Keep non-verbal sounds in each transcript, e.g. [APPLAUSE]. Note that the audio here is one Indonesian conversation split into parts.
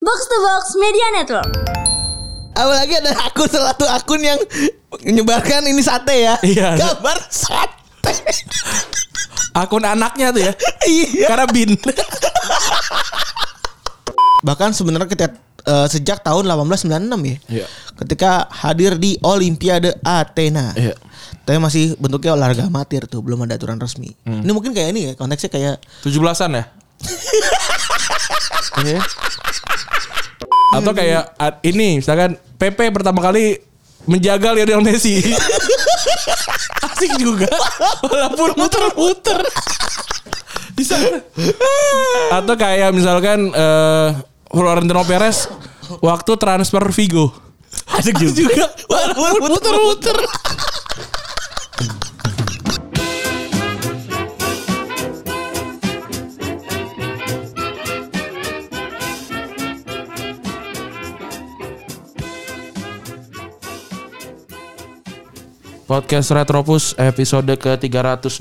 Box to Box Media Network. Apalagi ada akun salah satu akun yang menyebarkan ini sate ya. Iya. Gambar sate. [LAUGHS] Akun anaknya tuh ya. iya. Karena bin. Bahkan sebenarnya kita eh, sejak tahun 1896 ya. Iya. Ketika hadir di Olimpiade Athena. Iya. Tapi masih bentuknya olahraga amatir tuh, belum ada aturan resmi. Ini mungkin kayak ini ya, konteksnya kayak 17-an ya? Iya. Atau kayak ah, ini misalkan PP pertama kali menjaga Lionel Messi. Asik juga. Walaupun muter-muter. Di sana. Atau kayak misalkan eh Florentino Perez waktu transfer Vigo. Asik juga. Walaupun muter-muter. Podcast Retropus episode ke-312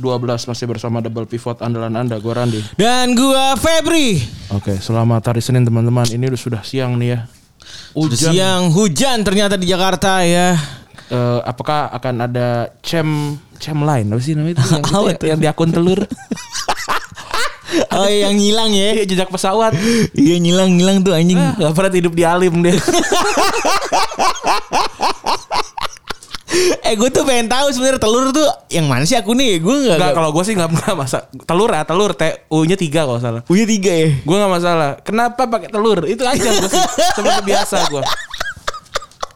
masih bersama Double Pivot andalan Anda, gue Randi. dan gua Febri. Oke, selamat hari Senin teman-teman. Ini udah sudah siang nih ya. Udah Hujan. siang hujan ternyata di Jakarta [LAUGHS] ya. Eh, apakah akan ada cem cem lain apa sih namanya [LAUGHS] itu yang, Apa itu ya, yang di akun telur? Oh yang ngilang ya. [LAUGHS] Iya jejak pesawat. Iya ngilang-ngilang tuh anjing. Ah, Gak pernah hidup di alim [LAUGHS] deh. Eh gue tuh pengen tahu sebenarnya telur tuh yang mana sih aku nih? Gue nggak. Enggak kalau gue sih nggak pernah masak telur ah telur tu nya tiga kalau salah. punya tiga ya. Gue nggak masalah. Kenapa pakai telur? Itu aja gue sih seperti biasa gue.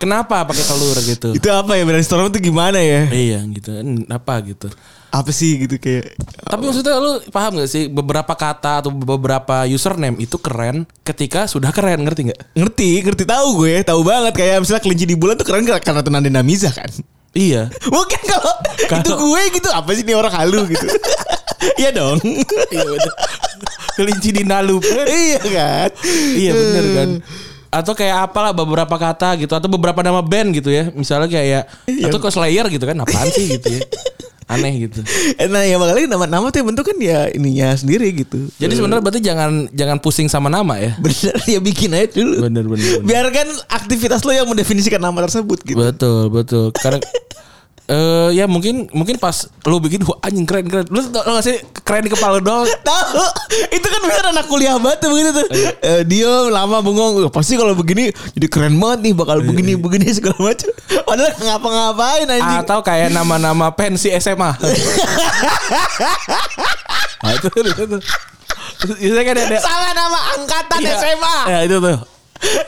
Kenapa pakai telur gitu? Itu apa ya brainstorm tuh gimana ya? Iya gitu. Hmm, Apa gitu? Apa sih gitu kayak? Tapi maksudnya lu paham gak sih beberapa kata atau beberapa username itu keren ketika sudah keren ngerti nggak? Ngerti, ngerti tahu gue, tahu banget kayak misalnya kelinci di bulan tuh keren karena Tunan Denda Miza kan. [LAUGHS] Iya. Mungkin kalau itu gue gitu apa sih nih orang halu [LAUGHS] gitu. Iya dong. [LAUGHS] Kelinci di Nalup. [LAUGHS] iya kan? [LAUGHS] iya bener kan. Atau kayak apalah beberapa kata gitu atau beberapa nama band gitu ya. Misalnya kayak atau kok Slayer gitu kan apaan sih [LAUGHS] gitu ya. Aneh gitu. Eh, Nah, ya makanya nama-nama tuh yang bentuk kan ya ininya sendiri gitu. Jadi sebenarnya berarti jangan jangan pusing sama nama ya. Bener ya bikin aja dulu. Bener bener. bener. Biarkan aktivitas lo yang mendefinisikan nama tersebut gitu. Betul, betul. [LAUGHS] Karena eh ya mungkin mungkin pas lu bikin wah anjing keren keren. Lu tau tau gak sih keren di kepala lu doang Tahu. Itu kan bener anak kuliah banget tuh begitu tuh. Iya. Eh, dia lama bengong. Wah, Pasti kalau begini jadi keren banget nih Iya. bakal begini begini [LAUGHS] segala macam. Padahal ngapa-ngapain anjing. atau kayak nama-nama pensi SMA. [LAUGHS] Nah, itu tuh, itu tuh. Terus biasanya kan ada Salah nama angkatan Iya. SMA. Ya, itu tuh.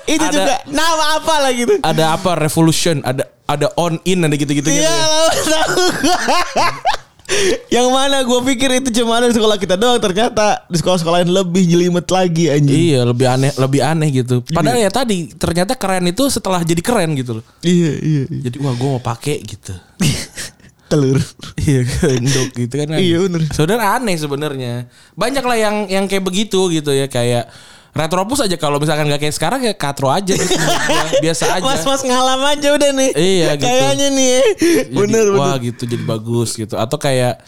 Itu Ada- juga nama apa lah gitu. Ada apa revolution, ada ada on in ada gitu-gitu gitu. Iya, ya. lalu tahu. [LAUGHS] Yang mana gue pikir itu cuma ada di sekolah kita doang ternyata di sekolah-sekolah lain lebih jelimet lagi anjing. Iya, lebih aneh lebih aneh gitu. Iya. Padahal ya tadi ternyata keren itu setelah jadi keren gitu loh. Iya, iya, [LAUGHS] iya. Jadi wah gue mau pakai gitu. Telur. Iya gendok gitu kan. aneh. Iya, bener. Saudara aneh sebenarnya. Banyak lah yang yang kayak begitu gitu ya kayak Retropus aja kalau misalkan gak kayak sekarang ya katro [LAUGHS] aja gitu. biasa aja. Mas-mas ngalam aja udah nih. Iya, gitu. Kayaknya nih. ya. Jadi, Bener, bener. wah gitu jadi bagus gitu atau kayak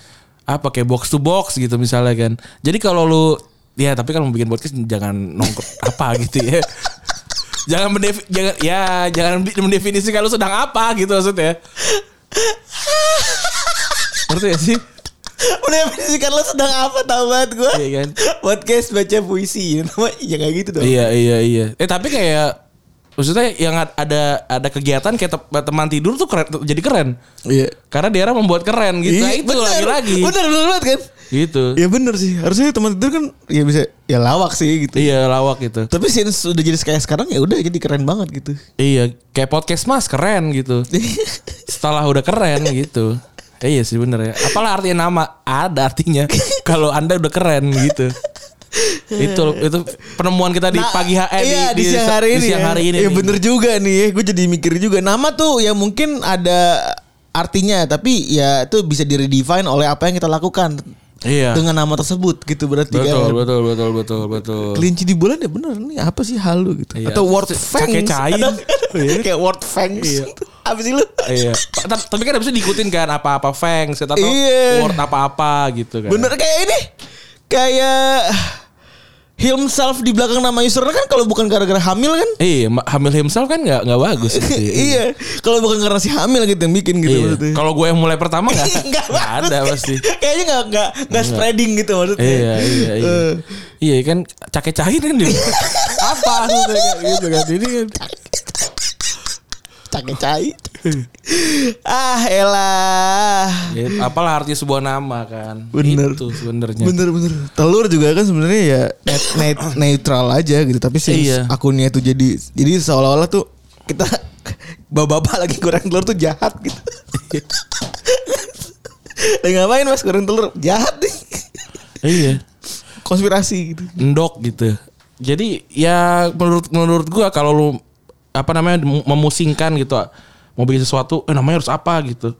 apa kayak box to box gitu misalnya kan jadi kalau lu ya tapi kalau mau bikin podcast jangan [LAUGHS] nongkrong apa gitu ya jangan mendefi, jangan ya jangan bi- mendefinisikan lu sedang apa gitu [LAUGHS] maksudnya ngerti gak sih Udah menyaksikan lo sedang apa tau banget gue Iya kan? Podcast baca puisi ya nama ya gak gitu dong iya iya iya eh tapi kayak maksudnya yang ad- ada ada kegiatan kayak te- teman tidur tuh keren jadi keren Iya karena daerah membuat keren gitu Nah, itu bener. lagi-lagi Bener bener banget kan gitu Ya bener sih Harusnya teman tidur kan ya bisa ya lawak sih gitu iya lawak gitu Tapi since udah jadi kayak sekarang ya udah jadi keren banget [LAUGHS] gitu Iya, kayak podcast mas keren gitu. Setelah udah keren gitu. Eh, iya sih bener ya. Apalah artinya nama? Ada artinya. [LAUGHS] Kalau anda udah keren gitu. itu itu penemuan kita di Nah, pagi ha- eh, iya, di, siang hari ini di siang ya. hari ini Ya nih. bener juga nih ya Gue jadi mikir juga Nama tuh ya mungkin ada artinya Tapi ya itu bisa di redefine oleh apa yang kita lakukan Iya. Dengan nama tersebut gitu berarti Betul, kan betul, betul, betul, betul. kelinci di bulan ya bener nih apa sih halu gitu Iya. atau word C- fangs cakek cair. Ada- [LAUGHS] kayak word fangs apa sih lu Iya. [LAUGHS] Ta- Tapi kan abis itu diikutin kan apa-apa fangs atau Iya. word apa-apa gitu kan. bener kayak ini kayak himself di belakang nama usernya kan kalau bukan gara-gara hamil kan? Iya, Ma- hamil himself kan nggak nggak bagus. gitu. [LAUGHS] iya. Kalau bukan karena si hamil gitu yang bikin gitu Iya. maksudnya. Kalau gue yang mulai pertama nggak [LAUGHS] Nggak nggak bagus. ada pasti. Kayaknya nggak nggak nggak spreading gitu maksudnya. Iya iya iya. Eh, iya kan cake cahin kan [LAUGHS] dia. Apa maksudnya kayak gitu kan ini kan. Cake cai. ah elah. Ya, apalah arti sebuah nama kan. Bener. Itu sebenarnya. Bener bener. Telur juga kan sebenarnya ya net- net- netral aja gitu. Tapi sih Iya. akunnya itu jadi jadi seolah-olah tuh kita bapak-bapak lagi goreng telur tuh jahat [LAUGHS] gitu. Dan ngapain mas goreng telur jahat nih. Iya. Konspirasi gitu. Endok gitu. Jadi ya menurut menurut gua kalau lu apa namanya mem- memusingkan gitu mau bikin sesuatu eh namanya harus apa gitu.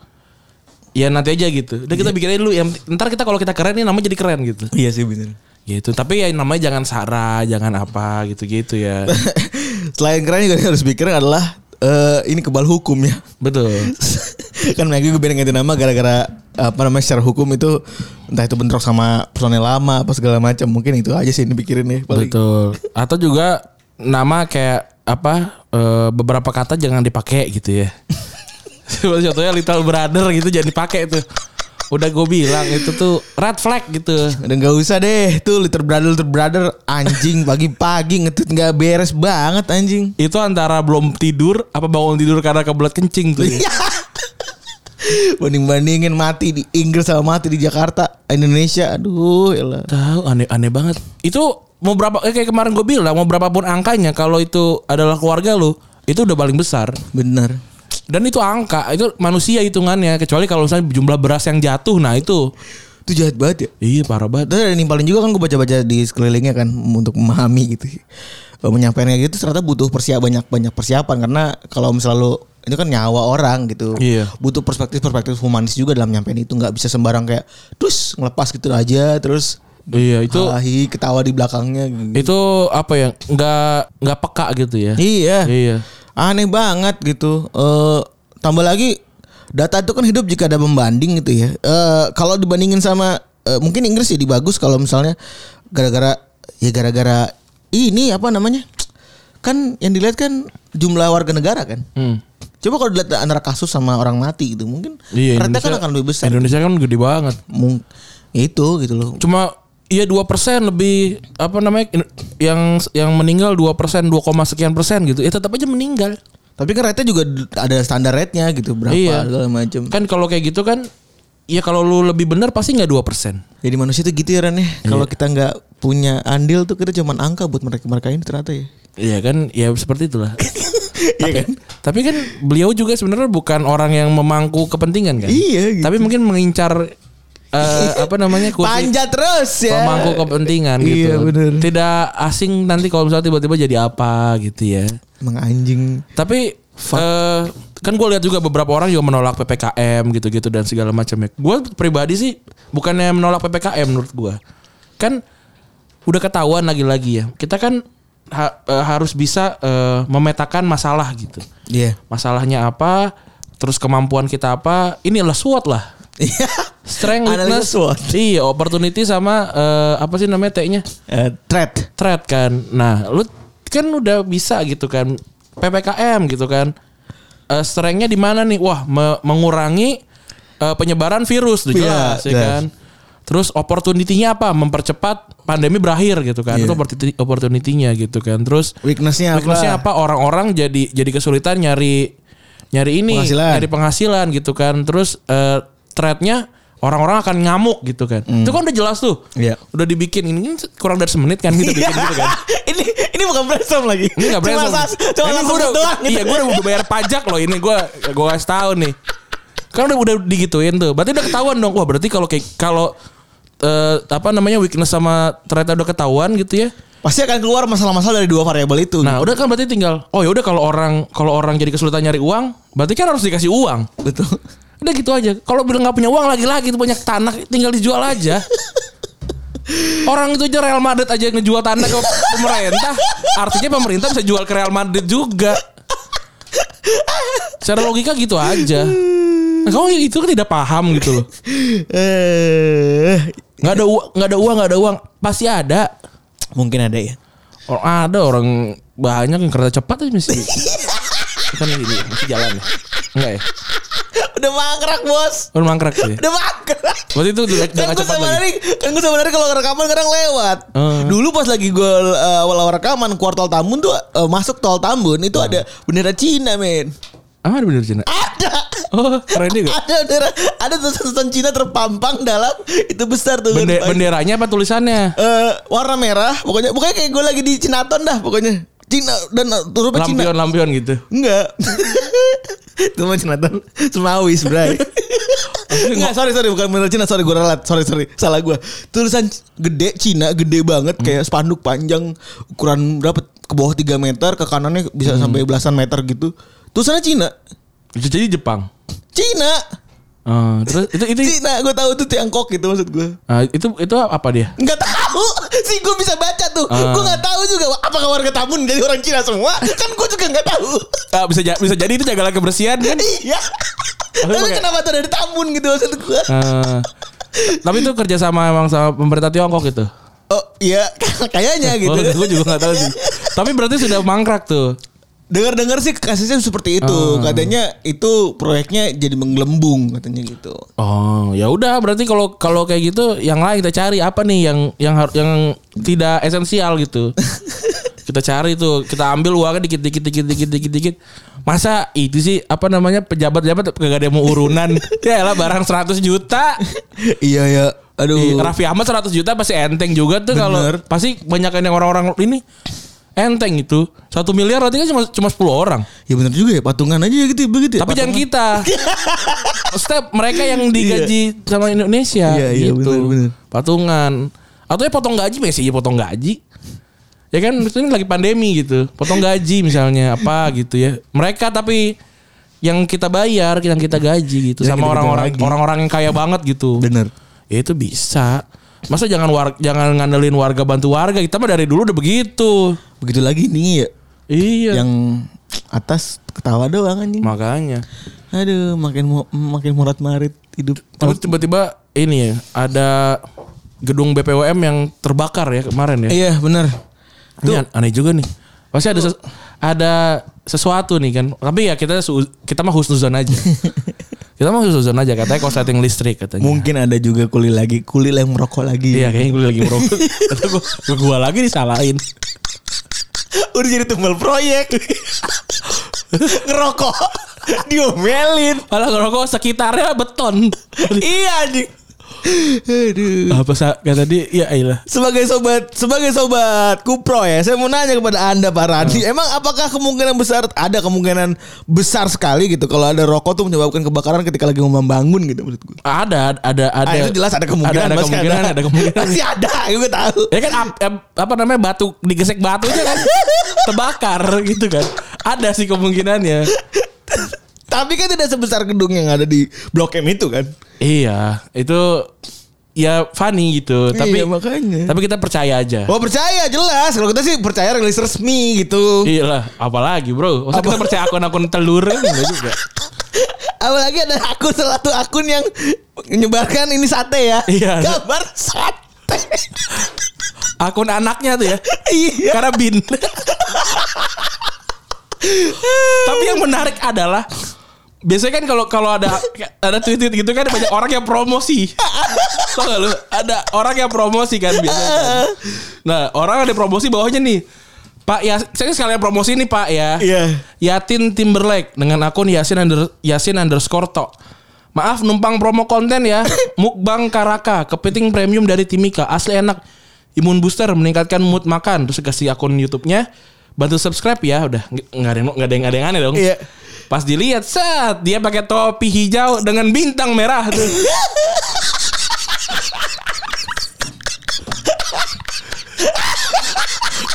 Ya nanti aja gitu. Udah kita bikin aja dulu ya ntar kita kalau kita keren nih namanya jadi keren gitu. Iya sih bener. Gitu. Tapi ya namanya jangan Sarah, jangan apa gitu-gitu ya. [LAUGHS] Selain keren juga yang harus pikirin adalah eh, ini kebal hukum ya. [LAUGHS] Betul. kan Maggie gue pengen ganti nama gara-gara apa namanya secara hukum itu entah itu bentrok sama personel lama apa segala macam mungkin itu aja sih yang dipikirin ya paling. Betul. Atau juga nama kayak apa eh, beberapa kata jangan dipakai gitu ya. [LAUGHS] Contohnya Little Brother gitu jangan dipakai tuh. Udah gue bilang itu tuh red flag gitu. Udah nggak usah deh tuh liter brother liter brother anjing pagi-pagi ngetut nggak beres banget anjing. [LAUGHS] Itu antara belum tidur apa bangun tidur karena kebelet kencing tuh. ya. Banding-bandingin mati di Inggris sama mati di Jakarta, Indonesia. Aduh, ya elah. [LAUGHS] Tahu aneh aneh banget. Itu mau berapa eh, kayak kemarin gue bilang mau berapapun angkanya kalau itu adalah keluarga lu itu udah paling besar Bener. dan itu angka itu manusia hitungannya kecuali kalau misalnya jumlah beras yang jatuh nah itu Itu jahat banget ya. iya parah banget Terus ada nimpalin juga kan gue baca-baca di sekelilingnya kan untuk memahami gitu. Eh, Menyampaikan kayak gitu ternyata butuh persiapan banyak banyak persiapan karena kalau misalnya lu itu kan nyawa orang gitu. Iya. Butuh perspektif-perspektif humanis juga dalam nyampein itu nggak bisa sembarang kayak terus ngelepas gitu aja terus Iya itu hahi ketawa di belakangnya gitu. itu apa ya nggak nggak peka gitu ya. Iya. Iya. Aneh banget gitu. Eh tambah lagi data itu kan hidup jika ada pembanding gitu ya. Eh kalau dibandingin sama eh, mungkin Inggris jadi bagus kalau misalnya gara-gara ya gara-gara ini apa namanya? Kan yang dilihat kan jumlah warga negara kan. Hmm. Coba kalau dilihat antara kasus sama orang mati gitu mungkin Iya, rate Indonesia- kan akan lebih besar. Indonesia kan gede banget. Mung- itu gitu loh. Cuma iya 2% lebih apa namanya in- yang yang meninggal 2% 2, koma sekian persen gitu. Ya tetap aja meninggal. Tapi kan rate juga ada standar rate-nya gitu berapa Iya. segala macam. Kan kalau kayak gitu kan ya kalau lu lebih benar pasti nggak 2%. Jadi manusia tuh gitu ya Ran ya. Iya. Kalau kita nggak punya andil tuh kita cuman angka buat mereka-mereka ini ternyata ya. Iya kan ya seperti itulah. [LAUGHS] Iya kan? Tapi kan beliau juga sebenarnya bukan orang yang memangku kepentingan kan. Iya, gitu. Tapi mungkin mengincar eh, apa [LAUGHS] namanya kursi- Panjat terus ya. pemangku kepentingan Iya, gitu. bener. Tidak asing nanti kalau misalnya tiba-tiba jadi apa gitu ya. Emang anjing. Tapi eh, kan gue lihat juga beberapa orang juga menolak ppkm gitu-gitu dan segala macamnya. Gue pribadi sih bukannya menolak ppkm menurut gue, kan udah ketahuan lagi-lagi ya. Kita kan ha- eh, harus bisa eh, memetakan masalah gitu. Iya. Masalahnya apa? Terus kemampuan kita apa? Ini adalah SWOT lah. [LAUGHS] Iya. Strength, Analisa weakness, SWOT. iya, opportunity sama eh, apa sih namanya T-nya? Eh, threat. thread kan. Nah, lu kan udah bisa gitu kan PPKM gitu kan. Eh strengthnya di mana nih? Wah, me- mengurangi eh, penyebaran virus tuh Iya, jelas ya jelas. kan. Terus opportunity-nya apa? Mempercepat pandemi berakhir gitu kan. Iya. Itu opportunity- opportunity-nya gitu kan. Terus Weakness-nya apa? weakness-nya apa? Orang-orang jadi jadi kesulitan nyari nyari ini, Penghasilan. nyari penghasilan gitu kan. Terus eh thread-nya orang-orang akan ngamuk gitu kan. Hmm. Itu kan udah jelas tuh. Iya. Udah dibikin ini kurang dari semenit kan kita bikin gitu kan. [LAUGHS] ini ini bukan brainstorm lagi. Cuma Ini gak brainstorm. sas- Cuma ini langsung gue udah, doang gitu. iya gue udah bayar pajak loh ini gue gue kasih tahu nih. Kan udah udah digituin tuh. Berarti udah ketahuan dong. Wah berarti kalau kayak kalau eh, apa namanya weakness sama ternyata udah ketahuan gitu ya. Pasti akan keluar masalah-masalah dari dua variabel itu. Nah udah kan berarti tinggal. Oh ya udah kalau orang kalau orang jadi kesulitan nyari uang, berarti kan harus dikasih uang. [LAUGHS] betul. Udah gitu aja. Kalau bilang nggak punya uang lagi-lagi itu banyak tanah tinggal dijual aja. Orang itu aja Real Madrid aja ngejual tanah ke pemerintah. Artinya pemerintah bisa jual ke Real Madrid juga. Secara logika gitu aja. Nah, kamu itu kan tidak paham gitu loh. Eh, Nggak ada uang, nggak ada uang, nggak ada uang. Pasti ada. Mungkin ada ya. Orang ada orang banyak yang kereta cepat aja mesti. kan ini masih jalan ya. Enggak ya. [LAUGHS] Udah mangkrak bos. Orang mangkrak ya? sih. Udah mangkrak. Waktu itu udah Kan udah gue cepat sama lagi. Nari, kan gue sama Nari kalau rekaman kadang lewat. Hmm. Dulu pas lagi gue eh, awal rekaman keluar tol Tambun tuh eh, masuk tol Tambun itu ada bendera Cina men. Ah, ada bener Cina. Ada. Oh, keren juga. Ada bendera, ada tulisan Cina terpampang dalam itu besar tuh. Bende- Kan? benderanya apa tulisannya? Eh, warna merah pokoknya pokoknya kayak gue lagi di Cinaton dah pokoknya Cina dan eh, turunnya Cina Lampion-lampion gitu. enggak [LAUGHS] itu mah Cinaton Semawi sebenarnya Enggak, sorry, sorry, bukan bener Cina, sorry, gue ralat, sorry, sorry, salah gue. Tulisan gede Cina, gede banget, kayak spanduk panjang, ukuran berapa, ke bawah 3 meter, ke kanannya bisa sampai belasan meter gitu. Tulisannya Cina, Itu jadi Jepang. Cina, Ah, terus itu itu Cina, gue tahu itu Tiongkok gitu maksud gue. ah, itu itu apa dia? Nggak tahu sih gue bisa baca tuh. Ah. Gue nggak tahu juga apakah warga Tambun jadi orang Cina semua. Kan gue juga nggak tahu. Ah, bisa ja- bisa jadi itu jagalah kebersihan kan? iya. Tapi Lalu pakai- kenapa tuh dari Tambun gitu maksud gue? Ah, tapi itu kerja sama emang sama pemerintah Tiongkok itu. Oh iya [LAUGHS] kayaknya gitu. Oh, gue juga nggak tahu sih. Tapi berarti sudah mangkrak tuh. Dengar-dengar sih kasusnya seperti itu. Ah. Katanya itu proyeknya jadi menggelembung katanya gitu. [LAUGHS] Oh, ya udah berarti kalau kalau kayak gitu yang lain kita cari apa nih yang yang har- yang tidak esensial gitu. kita cari tuh, kita ambil uangnya dikit dikit dikit dikit dikit dikit. Masa itu sih apa namanya pejabat-pejabat kagak ada yang mau urunan. ya lah barang 100 juta. iya ya. Aduh. Ih, Raffi Ahmad 100 juta pasti enteng juga tuh kalau Bener. pasti banyak yang orang-orang ini enteng itu. Satu miliar berarti kan cuma cuma 10 orang. Ya benar juga ya patungan aja gitu begitu. ya, Tapi jangan patungan. [LAUGHS] kita. Step mereka yang digaji sama Indonesia Iya, iya, gitu. benar, benar. Patungan. Atau ya potong gaji Messi aja potong gaji. Ya kan itu ini lagi pandemi gitu. Potong gaji misalnya apa gitu ya. Mereka tapi yang kita bayar, yang kita gaji gitu Yang kita- sama kita orang-orang gaji. orang-orang yang kaya banget gitu. Bener. Ya itu bisa. Masa jangan war- jangan ngandelin warga bantu warga. Kita mah dari dulu udah begitu. Begitu lagi nih ya. Iya. Yang atas ketawa doang anjing. makanya. Aduh, makin mu- makin murat marit hidup. Terus tiba-tiba ini ya, ada gedung BPOM yang terbakar ya kemarin ya. Iya, benar. Ini an- aneh juga nih. Pasti ada ses- ada sesuatu nih kan. Tapi ya kita su- kita mah husnuzon [LAUGHS] aja. kita mah husnuzon aja katanya korsleting listrik katanya. Mungkin ada juga kuli lagi, kuli yang merokok lagi. Iya kayaknya gue lagi [LAUGHS] merokok. Atau gue, gue lagi disalahin. Udah jadi tumbal proyek. Ngerokok diomelin. Malah ngerokok sekitarnya [LAUGHS] beton. iya anjing. Aduh. Apa sa- kata dia? Iya, Ya iyalah. Sebagai sobat, sebagai sobat Kupro ya, saya mau nanya kepada Anda Pak Radi, Ah. emang apakah kemungkinan besar ada kemungkinan besar sekali gitu kalau ada rokok tuh menyebabkan kebakaran ketika lagi mau membangun gitu menurut gue. Ada ada ada. Ah, itu jelas ada kemungkinan Ada, ada pasti kemungkinan, ada [LAUGHS] kemungkinan. Pasti ada, gue tahu. Ya kan ap- ap- apa namanya batu digesek batu aja [LAUGHS] kan terbakar gitu kan. Ada sih kemungkinannya. Tapi kan tidak sebesar gedung yang ada di Blok M itu kan. Iya, itu ya funny gitu, tapi Iya, makanya. tapi kita percaya aja. Oh percaya jelas kalau kita sih percaya rilis resmi [LAUGHS] gitu. Iya lah, apalagi bro. Masa kita Apa? percaya [LAUGHS] akun-akun telur kan enggak juga. Apalagi ada akun salah satu akun yang menyebarkan ini sate ya. Iya. Gambar [LAUGHS] sate. Akun anaknya tuh ya. iya. Karena [LAUGHS] bin. tapi yang menarik adalah biasanya kan kalau kalau ada ada tweet gitu kan ada banyak orang yang promosi. Tau gak lu? Ada orang yang promosi kan biasanya. kan. Nah, orang ada promosi bawahnya nih. Pak ya saya sekalian promosi nih Pak ya. Iya. Yatin Timberlake dengan akun Yasin under, Yasin underscore to. Maaf numpang promo konten ya. [LAUGHS] Mukbang Karaka, kepiting premium dari Timika, asli enak. Imun booster meningkatkan mood makan. Terus kasih akun YouTube-nya. Bantu subscribe ya, udah nggak nggak ada yang nggak ada yang nggak ada yang aneh dong. Iya. Pas dilihat set dia pakai topi hijau dengan bintang merah tuh.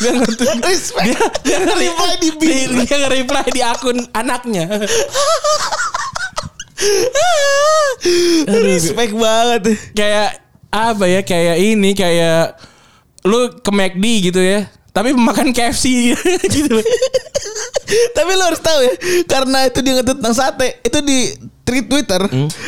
dia ngerti Respect. dia, dia nge-reply- Reply di bin. di- dia nge-reply di akun anaknya Respect banget. kayak apa ya kayak ini kayak lu ke McD gitu ya tapi makan KFC [LAUGHS] gitu loh. Tapi lo harus tahu ya, karena itu dia ngetweet tentang sate, itu di Hmm? tweet Twitter,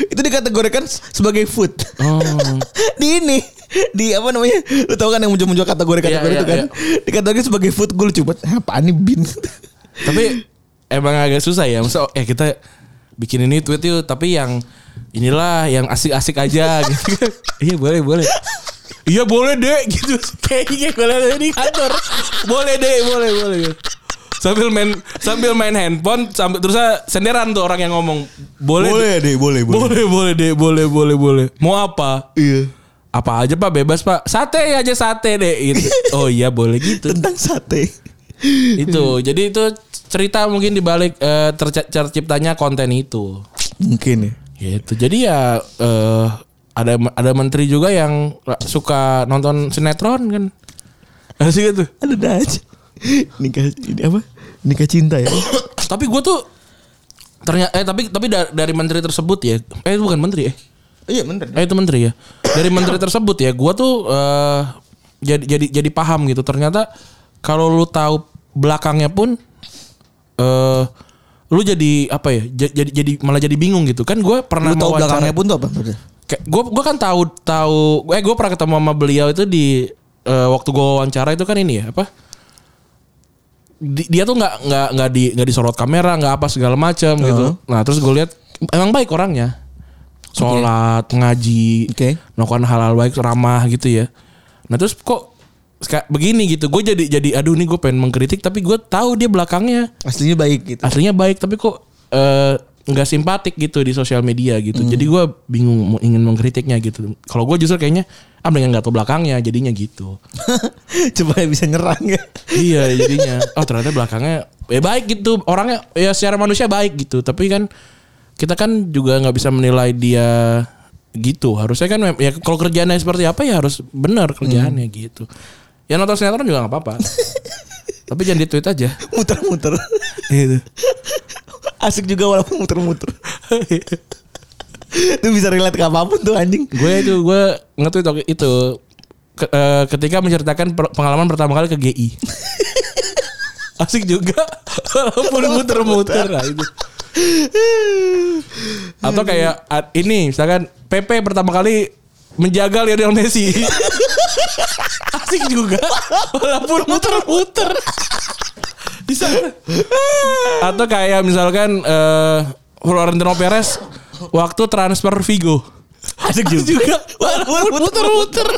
itu dikategorikan sebagai food. Oh. [LAUGHS] di ini di apa namanya? Lu tau kan yang muncul-muncul kategori-kategori Iya, itu kan? iya, Di kategori sebagai food gue lucu banget. "Hah, Apaan nih bin? Tapi emang agak susah ya. Masa eh kita bikin ini tweet yuk tapi yang inilah yang asik-asik aja [LAUGHS] gitu. kan. iya boleh boleh. Iya boleh deh gitu. Kayaknya boleh deh di kantor. Boleh deh, boleh boleh. Sambil main sambil main handphone sambil terus senderan tuh orang yang ngomong. Boleh. deh. deh, boleh, Boleh boleh deh, boleh boleh boleh. Mau apa? Iya. Apa aja Pak bebas Pak. Sate aja sate deh [LAUGHS] gitu. Oh iya boleh gitu Tentang sate. itu jadi itu cerita mungkin dibalik eh, terciptanya konten itu Mungkin ya. gitu jadi ya eh, ada ada menteri juga yang ra- suka nonton sinetron kan Asik gitu Ada dah aja. Nikah ini apa? Nikah cinta ya. tapi gue tuh ternyata eh tapi tapi da- dari menteri tersebut ya eh bukan menteri eh Iya bener. eh itu menteri ya dari menteri tersebut ya gue tuh eh, jadi jadi jadi paham gitu ternyata kalau lu tahu belakangnya pun eh lu jadi apa ya ja- jadi jadi malah jadi bingung gitu kan gue pernah Lu tahu wawancara- belakangnya pun tuh apa? kayak gue gue kan tahu tahu eh gue pernah ketemu sama beliau itu di eh, waktu gue wawancara itu kan ini ya apa Di- dia tuh nggak nggak nggak di nggak disorot kamera nggak apa segala macam gitu nah terus gue lihat emang baik orangnya sholat ngaji Oke. melakukan hal-hal baik ramah gitu ya nah terus kok seka- begini gitu gue jadi jadi aduh nih gue pengen mengkritik tapi gue tahu dia belakangnya Aslinya baik gitu. aslinya baik tapi kok eh, nggak simpatik gitu di sosial media gitu. Jadi gue bingung mau ingin mengkritiknya gitu. Kalau gue justru kayaknya ah dengan nggak tahu belakangnya jadinya gitu. [LAUGHS] Coba bisa nyerang ya. iya jadinya. Oh ternyata belakangnya ya baik gitu orangnya ya secara manusia baik gitu. Tapi kan kita kan juga nggak bisa menilai dia gitu. Harusnya kan mem- ya kalau kerjaannya seperti apa ya harus benar kerjaannya gitu. Ya nonton sinetron juga nggak apa-apa. Tapi jangan di tweet aja. Muter-muter. Gitu. Asik juga walaupun muter-muter. Itu bisa relate ke apapun tuh anjing. gue itu gue nge-tweet waktu itu ke- eh, ketika menceritakan per- pengalaman pertama kali ke GI asik juga walaupun muter-muter lah itu atau kayak at- ini misalkan PP pertama kali menjaga Lionel Messi asik juga walaupun muter-muter di sana atau kayak misalkan eh, Florentino Perez waktu transfer Vigo Asik juga. Walaupun muter-muter.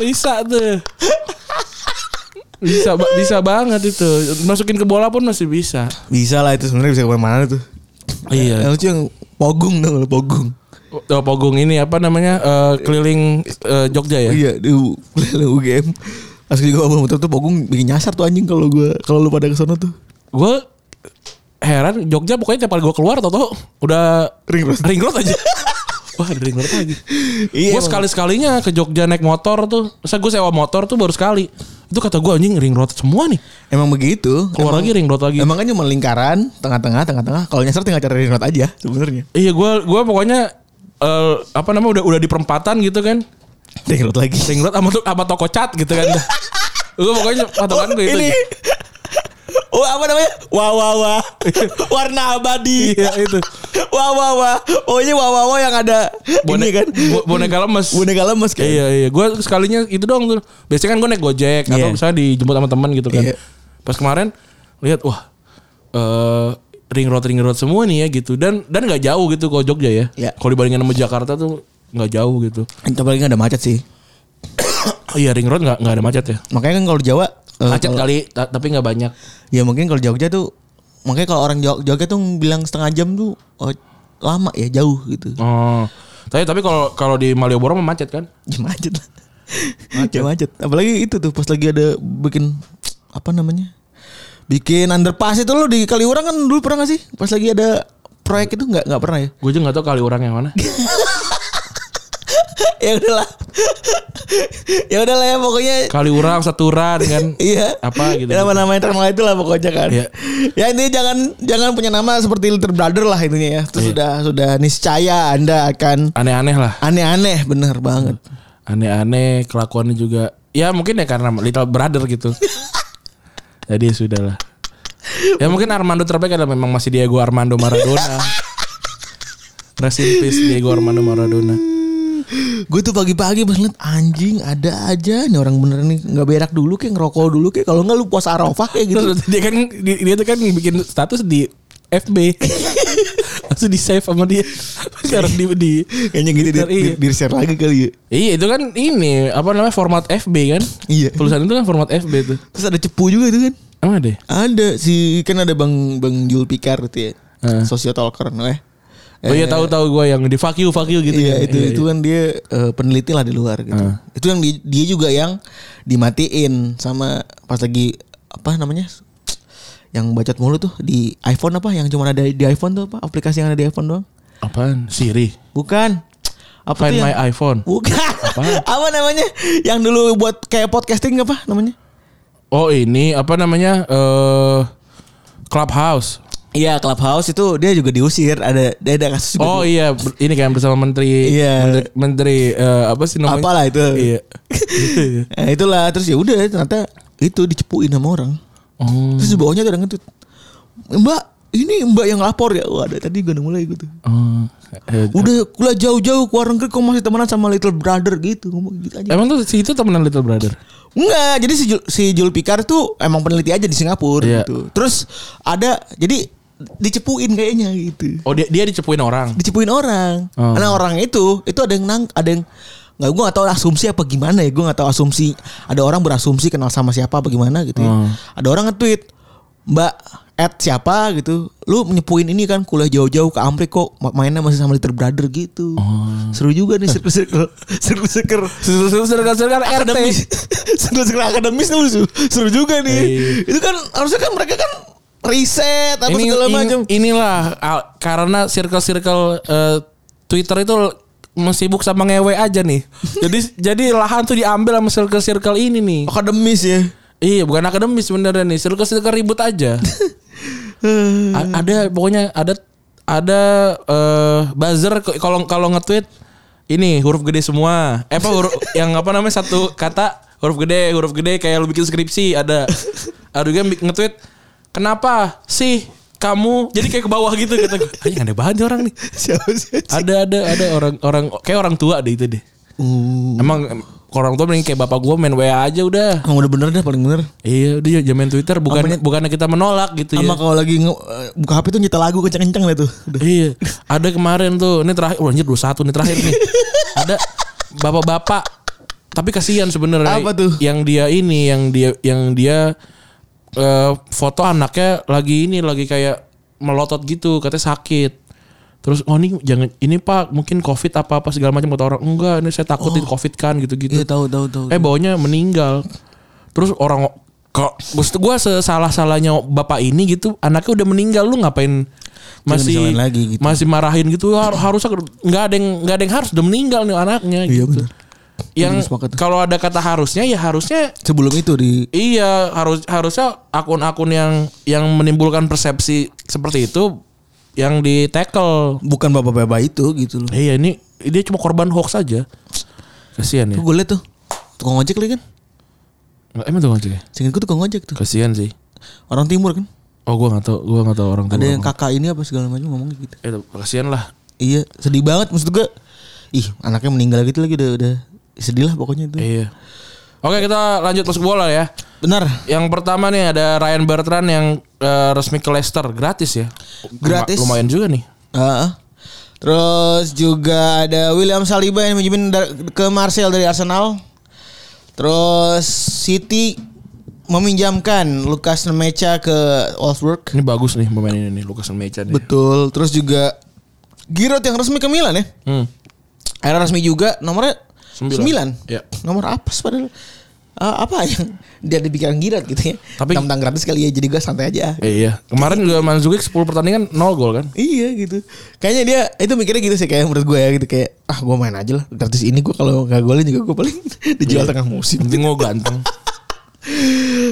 Bisa tuh. Bisa ba- bisa banget itu. Masukin ke bola pun masih bisa. Bisa lah itu sebenarnya bisa kemana-mana tuh. Ya, Yang Iya. lucu yang pogung dong kalau pogung. Oh, Pogong ini apa namanya? eh, keliling eh, Jogja ya. Iya di U- di UGM. Asik juga walaupun muter tuh pogung bikin nyasar tuh anjing kalau gua kalau lu pada ke sono tuh. Gue heran Jogja pokoknya tiap kali gue keluar tau udah Ring road. ring road [LAUGHS] aja. Wah, ada ring road lagi. Iya. gue sekali-sekalinya ke Jogja naik motor tuh. Saya gue sewa motor tuh baru sekali. Itu kata gue anjing ring road semua nih. Emang begitu. Keluar emang, lagi ring road lagi. Emang kan cuma lingkaran tengah-tengah tengah-tengah. Kalau nyasar tinggal cari ring road aja sebenarnya. Iya gue gua pokoknya eh, apa namanya udah udah di perempatan gitu kan. Ring road lagi. Ring road sama, to- sama toko cat gitu kan. gue pokoknya [LAUGHS] gitu patokan gue itu. Ini. Oh apa namanya? Wah wah [LAUGHS] wah. Warna abadi. Iya itu. Wah wah wah. Oh ini wah wah wah yang ada Bone- ini kan. bo- boneka lemes. Boneka lemes kan. Iya iya. Gue sekalinya itu doang tuh. Biasanya kan gue naik gojek atau Iya. misalnya dijemput sama teman gitu kan. Iya. Pas kemarin lihat wah eh ring road ring road semua nih ya gitu dan dan nggak jauh gitu kalau Jogja ya. Iya. Kalau dibandingin sama Jakarta tuh nggak jauh gitu. Tapi paling ada macet sih. Oh, iya ring road nggak nggak ada macet ya. Makanya kan kalau Jawa eh, Macet kalau- kali ta- tapi nggak banyak. Ya mungkin kalau Jogja tuh makanya kalau orang Jog- Jogja tuh bilang setengah jam tuh oh, lama ya jauh gitu. Oh. Tapi tapi kalau kalau di Malioboro mah macet kan? Ya macet lah. Ya macet. Apalagi itu tuh pas lagi ada bikin apa namanya? Bikin underpass itu lo di Kaliurang kan dulu pernah gak sih? Pas lagi ada proyek itu nggak nggak pernah [LAUGHS] ya? Gue juga nggak tahu kali orang yang [LAUGHS] mana. ya udahlah. [LAUGHS] ya udahlah ya pokoknya Kali orang saturan kan. Iya. Apa gitu. Nama-nama internal itu lah pokoknya kan. Iya. ya ini jangan jangan punya nama seperti Little Brother lah intinya ya. Iya. Itu sudah sudah niscaya Anda akan Aneh-aneh lah. aneh-aneh bener banget. Aneh-aneh kelakuannya juga. Ya mungkin ya karena little brother [LAUGHS] gitu. Jadi ya sudahlah. [LAUGHS] Ya mungkin Armando terbaik adalah memang masih Diego Armando Maradona. Rest in peace Diego Armando Maradona. Gue tuh pagi-pagi pas ngeliat anjing ada aja nih orang bener nih nggak berak dulu kayak ngerokok dulu kayak kalau nggak lu puasa arafah kayak gitu. Terus dia kan dia, dia tuh kan bikin status di [LAUGHS] FB. Langsung di save sama dia. Harus di, di Kayaknya gitu di, di, di share lagi kali ya. Iya itu kan ini apa namanya format FB kan? Iya. Tulisan itu kan format FB tuh. Terus ada cepu juga itu kan. Emang ya? deh. Ada si kan ada Bang Bang Julpikar itu ya. Heeh. Sociotalker eh. Oh iya tahu tahu gue yang di fuck you fuck you gitu. Iya kan. Ah. itu itu kan dia eh, peneliti lah di luar gitu. Itu yang di- dia juga yang dimatiin sama pas lagi apa namanya yang bacot mulu tuh di iPhone apa yang cuma ada di iPhone tuh apa aplikasi yang ada di iPhone doang? Apaan? Siri. Bukan. Apa tuh Find my yang- iPhone. Bukan. [LAUGHS] Apa? namanya? Yang dulu buat kayak podcasting apa namanya? Oh ini apa namanya? Eh Clubhouse. Iya Clubhouse itu dia juga diusir ada dia ada kasus juga. Oh iya, ber- ini kan bersama menteri Iya. menteri, menteri, eh, apa sih namanya? Apalah itu. Iya. [LAUGHS] Nah, itulah terus ya udah ternyata itu dicepuin sama orang. oh. Terus di bawahnya ada ngetut. Mbak, ini Mbak yang lapor ya. Wah, ada tadi gue udah mulai gitu. oh. Eh, Udah kuliah jauh-jauh ke luar negeri kok masih temenan sama little brother gitu. Ngomong gitu aja. Emang tuh si itu temenan Little Brother. Enggak, jadi si, Jul- si Julpikar tuh emang peneliti aja di Singapura Iya. gitu. Terus ada jadi dicepuin kayaknya gitu. Oh dia dia dicepuin orang. Dicepuin orang. Oh. Karena orang itu itu ada yang nang ada yang nggak gue gak tahu asumsi apa gimana ya gue gak tahu asumsi ada orang berasumsi kenal sama siapa apa gimana gitu ya. Hmm. ada orang nge-tweet mbak at siapa gitu lu menyepuin ini kan kuliah jauh-jauh ke Amrik kok ma- mainnya masih sama Little Brother gitu Oh. seru juga nih circle circle circle circle Sedangkan akademis [LAUGHS] circle circle akademis tuh seru, seru juga nih Iya. itu kan harusnya kan mereka kan riset apa Ini, segala ini- macam inilah al- karena circle-circle eh, Twitter itu l- mau sibuk sama ngewe aja [LAUGHS] nih. jadi jadi lahan tuh diambil sama circle-circle ini nih. akademis ya Iya, bukan akademis sebenarnya nih. Circle-circle ribut aja. [LAUGHS] A- ada pokoknya ada ada eh, buzzer k- kalau kalau nge-tweet ini huruf gede semua. Eh, apa huruf yang apa namanya satu kata huruf gede, huruf gede kayak lu bikin skripsi ada. Ada juga yang bi- nge-tweet kenapa sih kamu jadi kayak ke bawah gitu kata gue. Anjing, aneh banget nih orang nih. [LAUGHS] siapa sih Ada ada ada orang orang kayak orang tua deh itu deh. Uh. Emang em, orang tua mending kayak bapak gua main WA aja udah. Emang udah bener deh paling bener Iya, dia jamin Twitter bukan bukannya kita menolak gitu ya. Sama kalau lagi nge- eh, buka HP tuh nyetel lagu kenceng-kenceng lah tuh. Udah. Iya. Ada kemarin tuh, ini terakhir, oh, anjir 21 nih terakhir nih. Ada bapak-bapak tapi kasihan sebenarnya. Apa tuh? Yang dia ini, yang dia yang dia eh, foto anaknya lagi ini lagi kayak melotot gitu, katanya sakit. Terus oh ini jangan ini Pak, mungkin Covid apa apa segala macam kata orang. Enggak, ini saya Oh. takut di Covid kan gitu-gitu. Iya, tahu tahu tahu. Eh baunya meninggal. Terus orang kok maksud gue sesalah salahnya bapak ini gitu anaknya udah meninggal lu ngapain masih disalahin lagi gitu. masih marahin gitu har- harusnya nggak ada yang nggak ada yang harus udah meninggal nih anaknya Iya, gitu. benar. Yang Benar, sepakat. kalau ada kata harusnya ya harusnya Sebelum itu di iya harus harusnya akun-akun yang yang menimbulkan persepsi seperti itu yang di tackle. bukan bapak-bapak itu gitu loh. Iya ini dia cuma korban hoax aja. Kasihan ya. Gue liat tuh tukang ojek lagi kan. Emang tuh maksudnya? Singkat gue tukang ojek tuh. Kasihan sih. Orang timur kan. Oh gue gak tau Gue gak tau orang tua Ada yang ngomong. kakak ini apa segala macam ngomong gitu. Eh kasihan lah Iya, sedih banget maksud gue. Ih, anaknya meninggal gitu lagi udah udah sedih lah pokoknya itu. Iya Oke kita lanjut masuk bola ya Benar. Yang pertama nih ada Ryan Bertrand yang eh, resmi ke Leicester Gratis ya Gratis. Luma- Lumayan juga nih Heeh. Terus juga ada William Saliba yang minjemin dar- ke Marcel dari Arsenal. Terus City meminjamkan Lukas Nemecha ke Wolfsburg. Ini bagus nih pemain ini nih Lucas Mecha nih Betul. Terus juga Giroud yang resmi ke Milan ya. hmm. Akhirnya resmi juga nomornya Sembilan. 9. Ya. Iya. Nomor apa sih padahal? Eh, apa yang [LAUGHS] dia dipikiran Giroud gitu ya. Tapi- Tapi tentang gratis kali ya jadi gue santai aja. Eh, Iya Kemarin juga Manzukic 10 pertandingan 0 gol kan Iya gitu. Kayaknya dia itu mikirnya gitu sih kayak menurut gue ya gitu kayak ah gue main aja lah gratis ini gue kalau nggak golin juga gue paling [LAUGHS] dijual tengah musim. Penting gue ganteng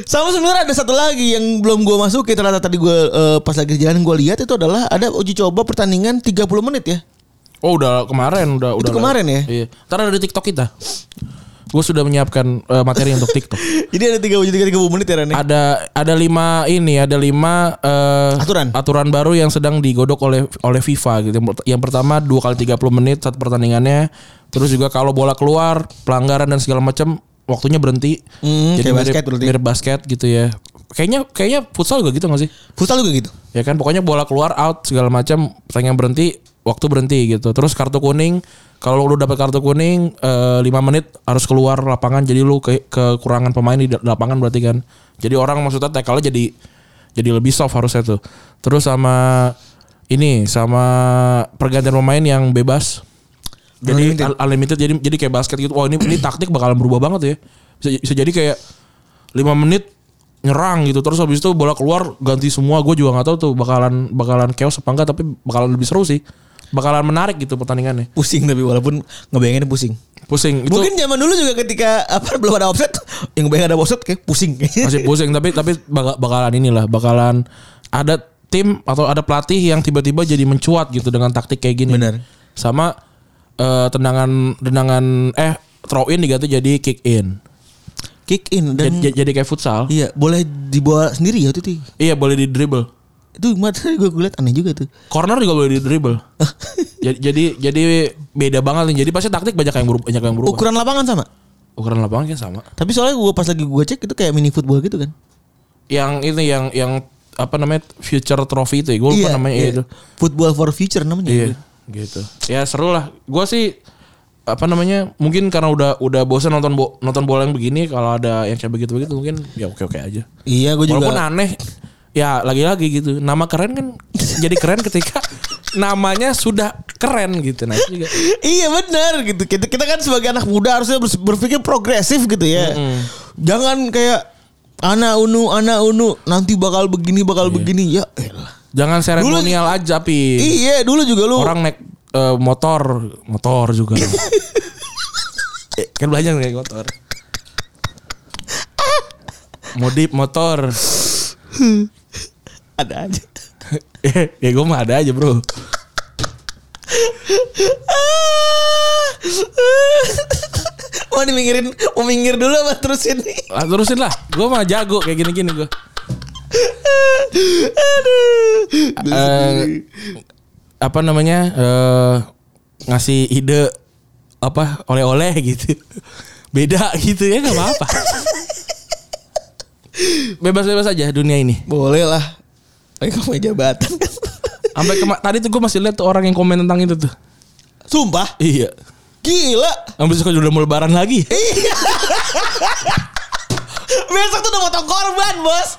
Sama sebenarnya ada satu lagi yang belum gue masukin ternyata tadi gue eh, pas lagi jalan gue lihat itu adalah ada uji coba pertandingan 30 [LAUGHS] menit ya. Oh udah kemarin udah udah kemarin ya? Iya Ntar ada di TikTok kita Gue sudah menyiapkan eh, materi untuk TikTok. Jadi ada tiga tiga tiga puluh menit ya Ren. Ada ada lima ini, ada lima eh, Aturan. aturan baru yang sedang digodok oleh oleh FIFA gitu. Yang pert- Yang pertama dua kali 30 menit saat pertandingannya. Terus juga kalau bola keluar, pelanggaran dan segala macam waktunya berhenti. Hmm, kayak mirip- basket berarti. mirip basket gitu ya. Kayaknya kayaknya futsal juga gitu gak sih? Futsal juga gitu. ya kan pokoknya bola keluar out segala macam pertandingan berhenti waktu berhenti gitu terus kartu kuning kalau lu dapat kartu kuning eh, lima menit harus keluar lapangan jadi lu ke kekurangan pemain di da- lapangan berarti kan jadi orang maksudnya tackle jadi jadi lebih soft harusnya tuh terus sama ini sama pergantian pemain yang bebas Unlimited. jadi unlimited, unlimited jadi jadi kayak basket gitu wah ini ini taktik bakalan berubah banget ya bisa, bisa jadi kayak 5 menit nyerang gitu terus habis itu bola keluar ganti semua gue juga nggak tahu tuh bakalan bakalan chaos apa enggak tapi bakalan lebih seru sih bakalan menarik gitu pertandingannya Pusing tapi walaupun ngebayanginnya pusing. pusing itu Mungkin zaman dulu juga ketika apa [LAUGHS] belum ada offset, yang ngebayangin ada offset kayak pusing. masih pusing tapi tapi baka- bakalan inilah bakalan ada tim atau ada pelatih yang tiba-tiba jadi mencuat gitu dengan taktik kayak gini Benar. sama eh, tendangan tendangan eh throw in diganti jadi kick [LAUGHS] in Kick in dan jadi, jadi kayak futsal iya boleh dibawa sendiri ya itu tuh. Iya boleh di dribble. Itu materi gue liat aneh juga tuh. Corner juga boleh di dribble. jadi, jadi jadi beda banget nih. Jadi pasti taktik banyak yang berubah, banyak yang berubah. Ukuran lapangan sama. Ukuran lapangan kan sama. Tapi soalnya gue pas lagi gue cek itu kayak mini football gitu kan. Yang ini yang yang apa namanya future trophy itu ya. Gue lupa namanya iya. itu. Football for future namanya. Iya, gitu. Ya seru lah. Gue sih apa namanya mungkin karena udah udah bosan nonton bo- nonton bola yang begini kalau ada yang kayak begitu begitu mungkin ya oke oke aja Iya gue juga. walaupun [LAUGHS] aneh ya lagi-lagi gitu nama keren kan [LAUGHS] jadi keren ketika namanya sudah keren gitu nah itu juga Iya benar gitu. Kita kita kan sebagai anak muda harusnya bers- berpikir progresif gitu ya. Jangan kayak anak unu anak unu nanti bakal begini Iya. bakal begini ya. elah. Jangan seremonial aja, Pi. Iya dulu juga lu. Orang naik eh, motor, motor juga. Eh, kan banyak naik motor. Modif motor. [LAUGHS] ada aja. [LAUGHS] ya gue mah ada aja, Bro. Ah. [LAUGHS] mau diminggirin, mau minggir dulu apa terus ini? Ah, terusin lah. Gue mah jago kayak gini-gini gue. Aduh. Eh, apa namanya? eh ngasih ide apa oleh-oleh gitu. Beda gitu ya nggak apa-apa. Bebas-bebas aja dunia ini. Boleh lah. Lagi ke meja jabatan kan. Sampai kema- tadi tuh gue masih lihat tuh orang yang komen tentang itu tuh. Sumpah, Iya. gila. Yang besok udah mau lebaran lagi. Iya. Besok tuh udah potong korban, Bos.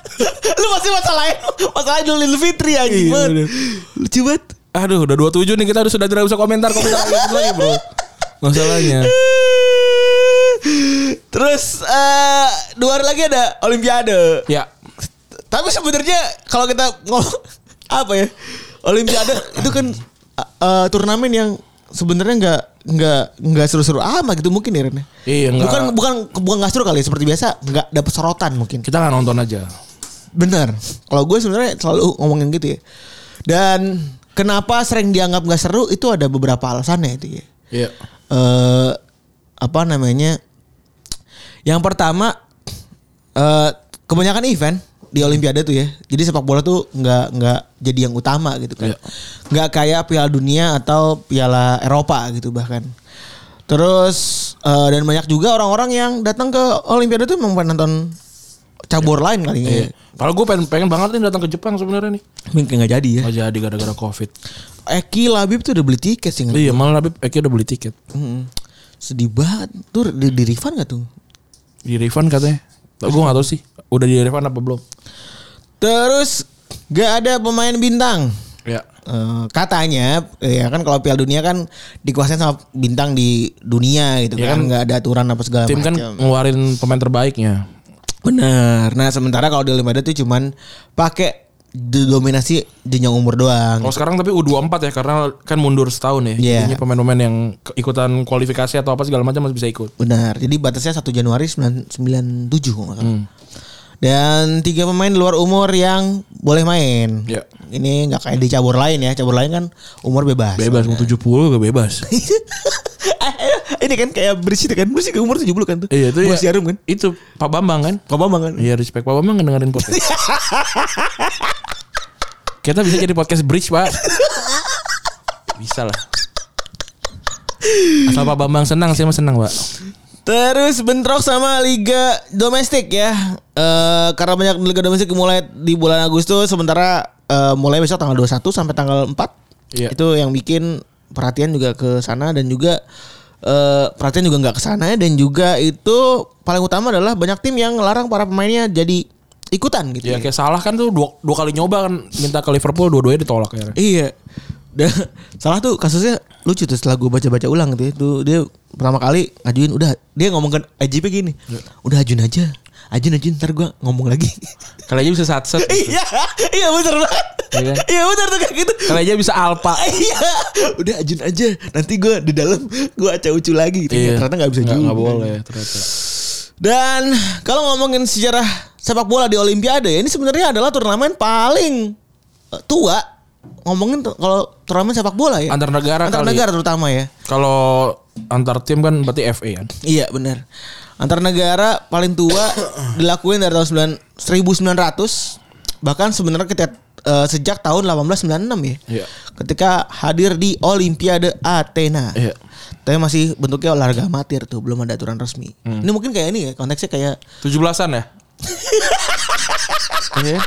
Lu masih masalahin masalahin Idul Fitri anjing. Iya, Iya, bener. Lucu banget. Aduh, udah 27 nih kita udah sudah tidak bisa komentar komentar lagi, lagi, bro. Masalahnya. Terus eh dua hari lagi ada Olimpiade. Ya. Tapi sebenarnya kalau kita ngomong apa ya? Olimpiade itu kan eh, turnamen yang sebenarnya nggak nggak nggak seru-seru amat gitu mungkin ya Ren. Iya, nggak- Bukan bukan bukan nggak seru kali ya, seperti biasa nggak dapet sorotan mungkin. Kita nggak nonton aja. Bener. Kalau gue sebenarnya selalu ngomongin gitu ya. Dan kenapa sering dianggap gak seru itu ada beberapa alasannya itu ya. Iya. Eh, apa namanya? Yang pertama eh kebanyakan event di Olimpiade tuh ya. Jadi sepak bola tuh nggak nggak jadi yang utama gitu kan. Iya. Nggak kayak Piala Dunia atau Piala Eropa gitu bahkan. Terus eh, dan banyak juga orang-orang yang datang ke Olimpiade tuh memang pengen nonton cabur lain kali ya. Iya. Padahal gue pengen, pengen banget nih datang ke Jepang sebenarnya nih. Mungkin nggak jadi ya. Nggak jadi gara-gara covid. Eki Labib tuh udah beli tiket sih. nggak? Iya, malah Habib Eki udah beli tiket. Mm-mm. Sedih banget. Tuh di, di refund gak tuh? Di refund katanya. Tapi gue nggak tahu sih. Udah di refund apa belum? Terus gak ada pemain bintang. Ya. Eh, katanya eh, ya kan kalau Piala Dunia kan dikuasain sama bintang di dunia gitu Ya kan kan. nggak ada aturan apa segala Tim kan macam. ngeluarin pemain terbaiknya. Bener. Nah sementara kalau di Olimpiade tuh cuman pakai dominasi jenjang umur doang. Kalau sekarang tapi U24 ya karena kan mundur setahun ya. Iya. Jadinya pemain-pemain yang ke- ikutan kualifikasi atau apa segala macam masih bisa ikut. Benar. Jadi batasnya 1 Januari 9- 97 kalau nggak salah. Hmm. Dan tiga pemain di luar umur yang boleh main. Iya. Ini nggak kayak di cabur lain ya. Cabur lain kan umur bebas. Bebas mau 70 gak bebas. eh, [LAUGHS] Ini kan kayak berisi itu kan. Berisi ke umur 70 kan tuh. [LAUGHS] Iya itu Bos ya. jarum kan. Itu Pak Bambang kan? Kok Bambang kan? Iya respect Pak Bambang dengerin [LAUGHS] podcast. Kita bisa jadi podcast bridge Pak. [LAUGHS] Bisa lah. Asal Pak Bambang senang sih, mas senang Pak. Terus bentrok sama liga domestik ya. Eh karena banyak liga domestik mulai di bulan Agustus sementara eh, mulai besok tanggal 21 sampai tanggal 4. Iya. Itu yang bikin perhatian juga ke sana dan juga eh perhatian juga nggak ke sana ya. dan juga itu paling utama adalah banyak tim yang larang para pemainnya jadi ikutan gitu. Ya kayak salah kan tuh dua, dua kali nyoba kan minta ke Liverpool dua-duanya ditolak ya. Iya. Dan salah tuh kasusnya lucu tuh setelah gue baca-baca ulang gitu ya. Tuh dia pertama kali ngajuin udah dia ngomong ke AJP gini. Udah ajuin aja. Ajun ajun ntar gue ngomong lagi. [LAUGHS] Kali aja bisa sat [LAUGHS] set. iya, iya bener banget. Iya kan? Iya bener tuh kayak gitu. Kali aja bisa alpa. Iya, udah ajun aja. Nanti gue di dalam gue acak ucu lagi gitu. Ya, Ternyata nggak bisa juga. Iya. Nggak boleh ternyata. Dan kalau ngomongin sejarah sepak bola di Olimpiade, ini sebenarnya adalah turnamen paling eh, tua ngomongin tu- kalau turnamen sepak bola ya. Antar negara Antar kali. negara terutama ya. Kalau antar tim kan berarti FA kan. Iya benar. Antar negara paling [COUGHS] tua dilakuin dari tahun 9 1900 bahkan sebenarnya kita eh, sejak tahun 1896 ya. Iya. Ketika hadir di Olimpiade Athena. Iya. Tapi masih bentuknya olahraga amatir tuh, belum ada aturan resmi. Ini mungkin kayak ini ya, konteksnya [COUGHS] kayak 17-an ya? Iya.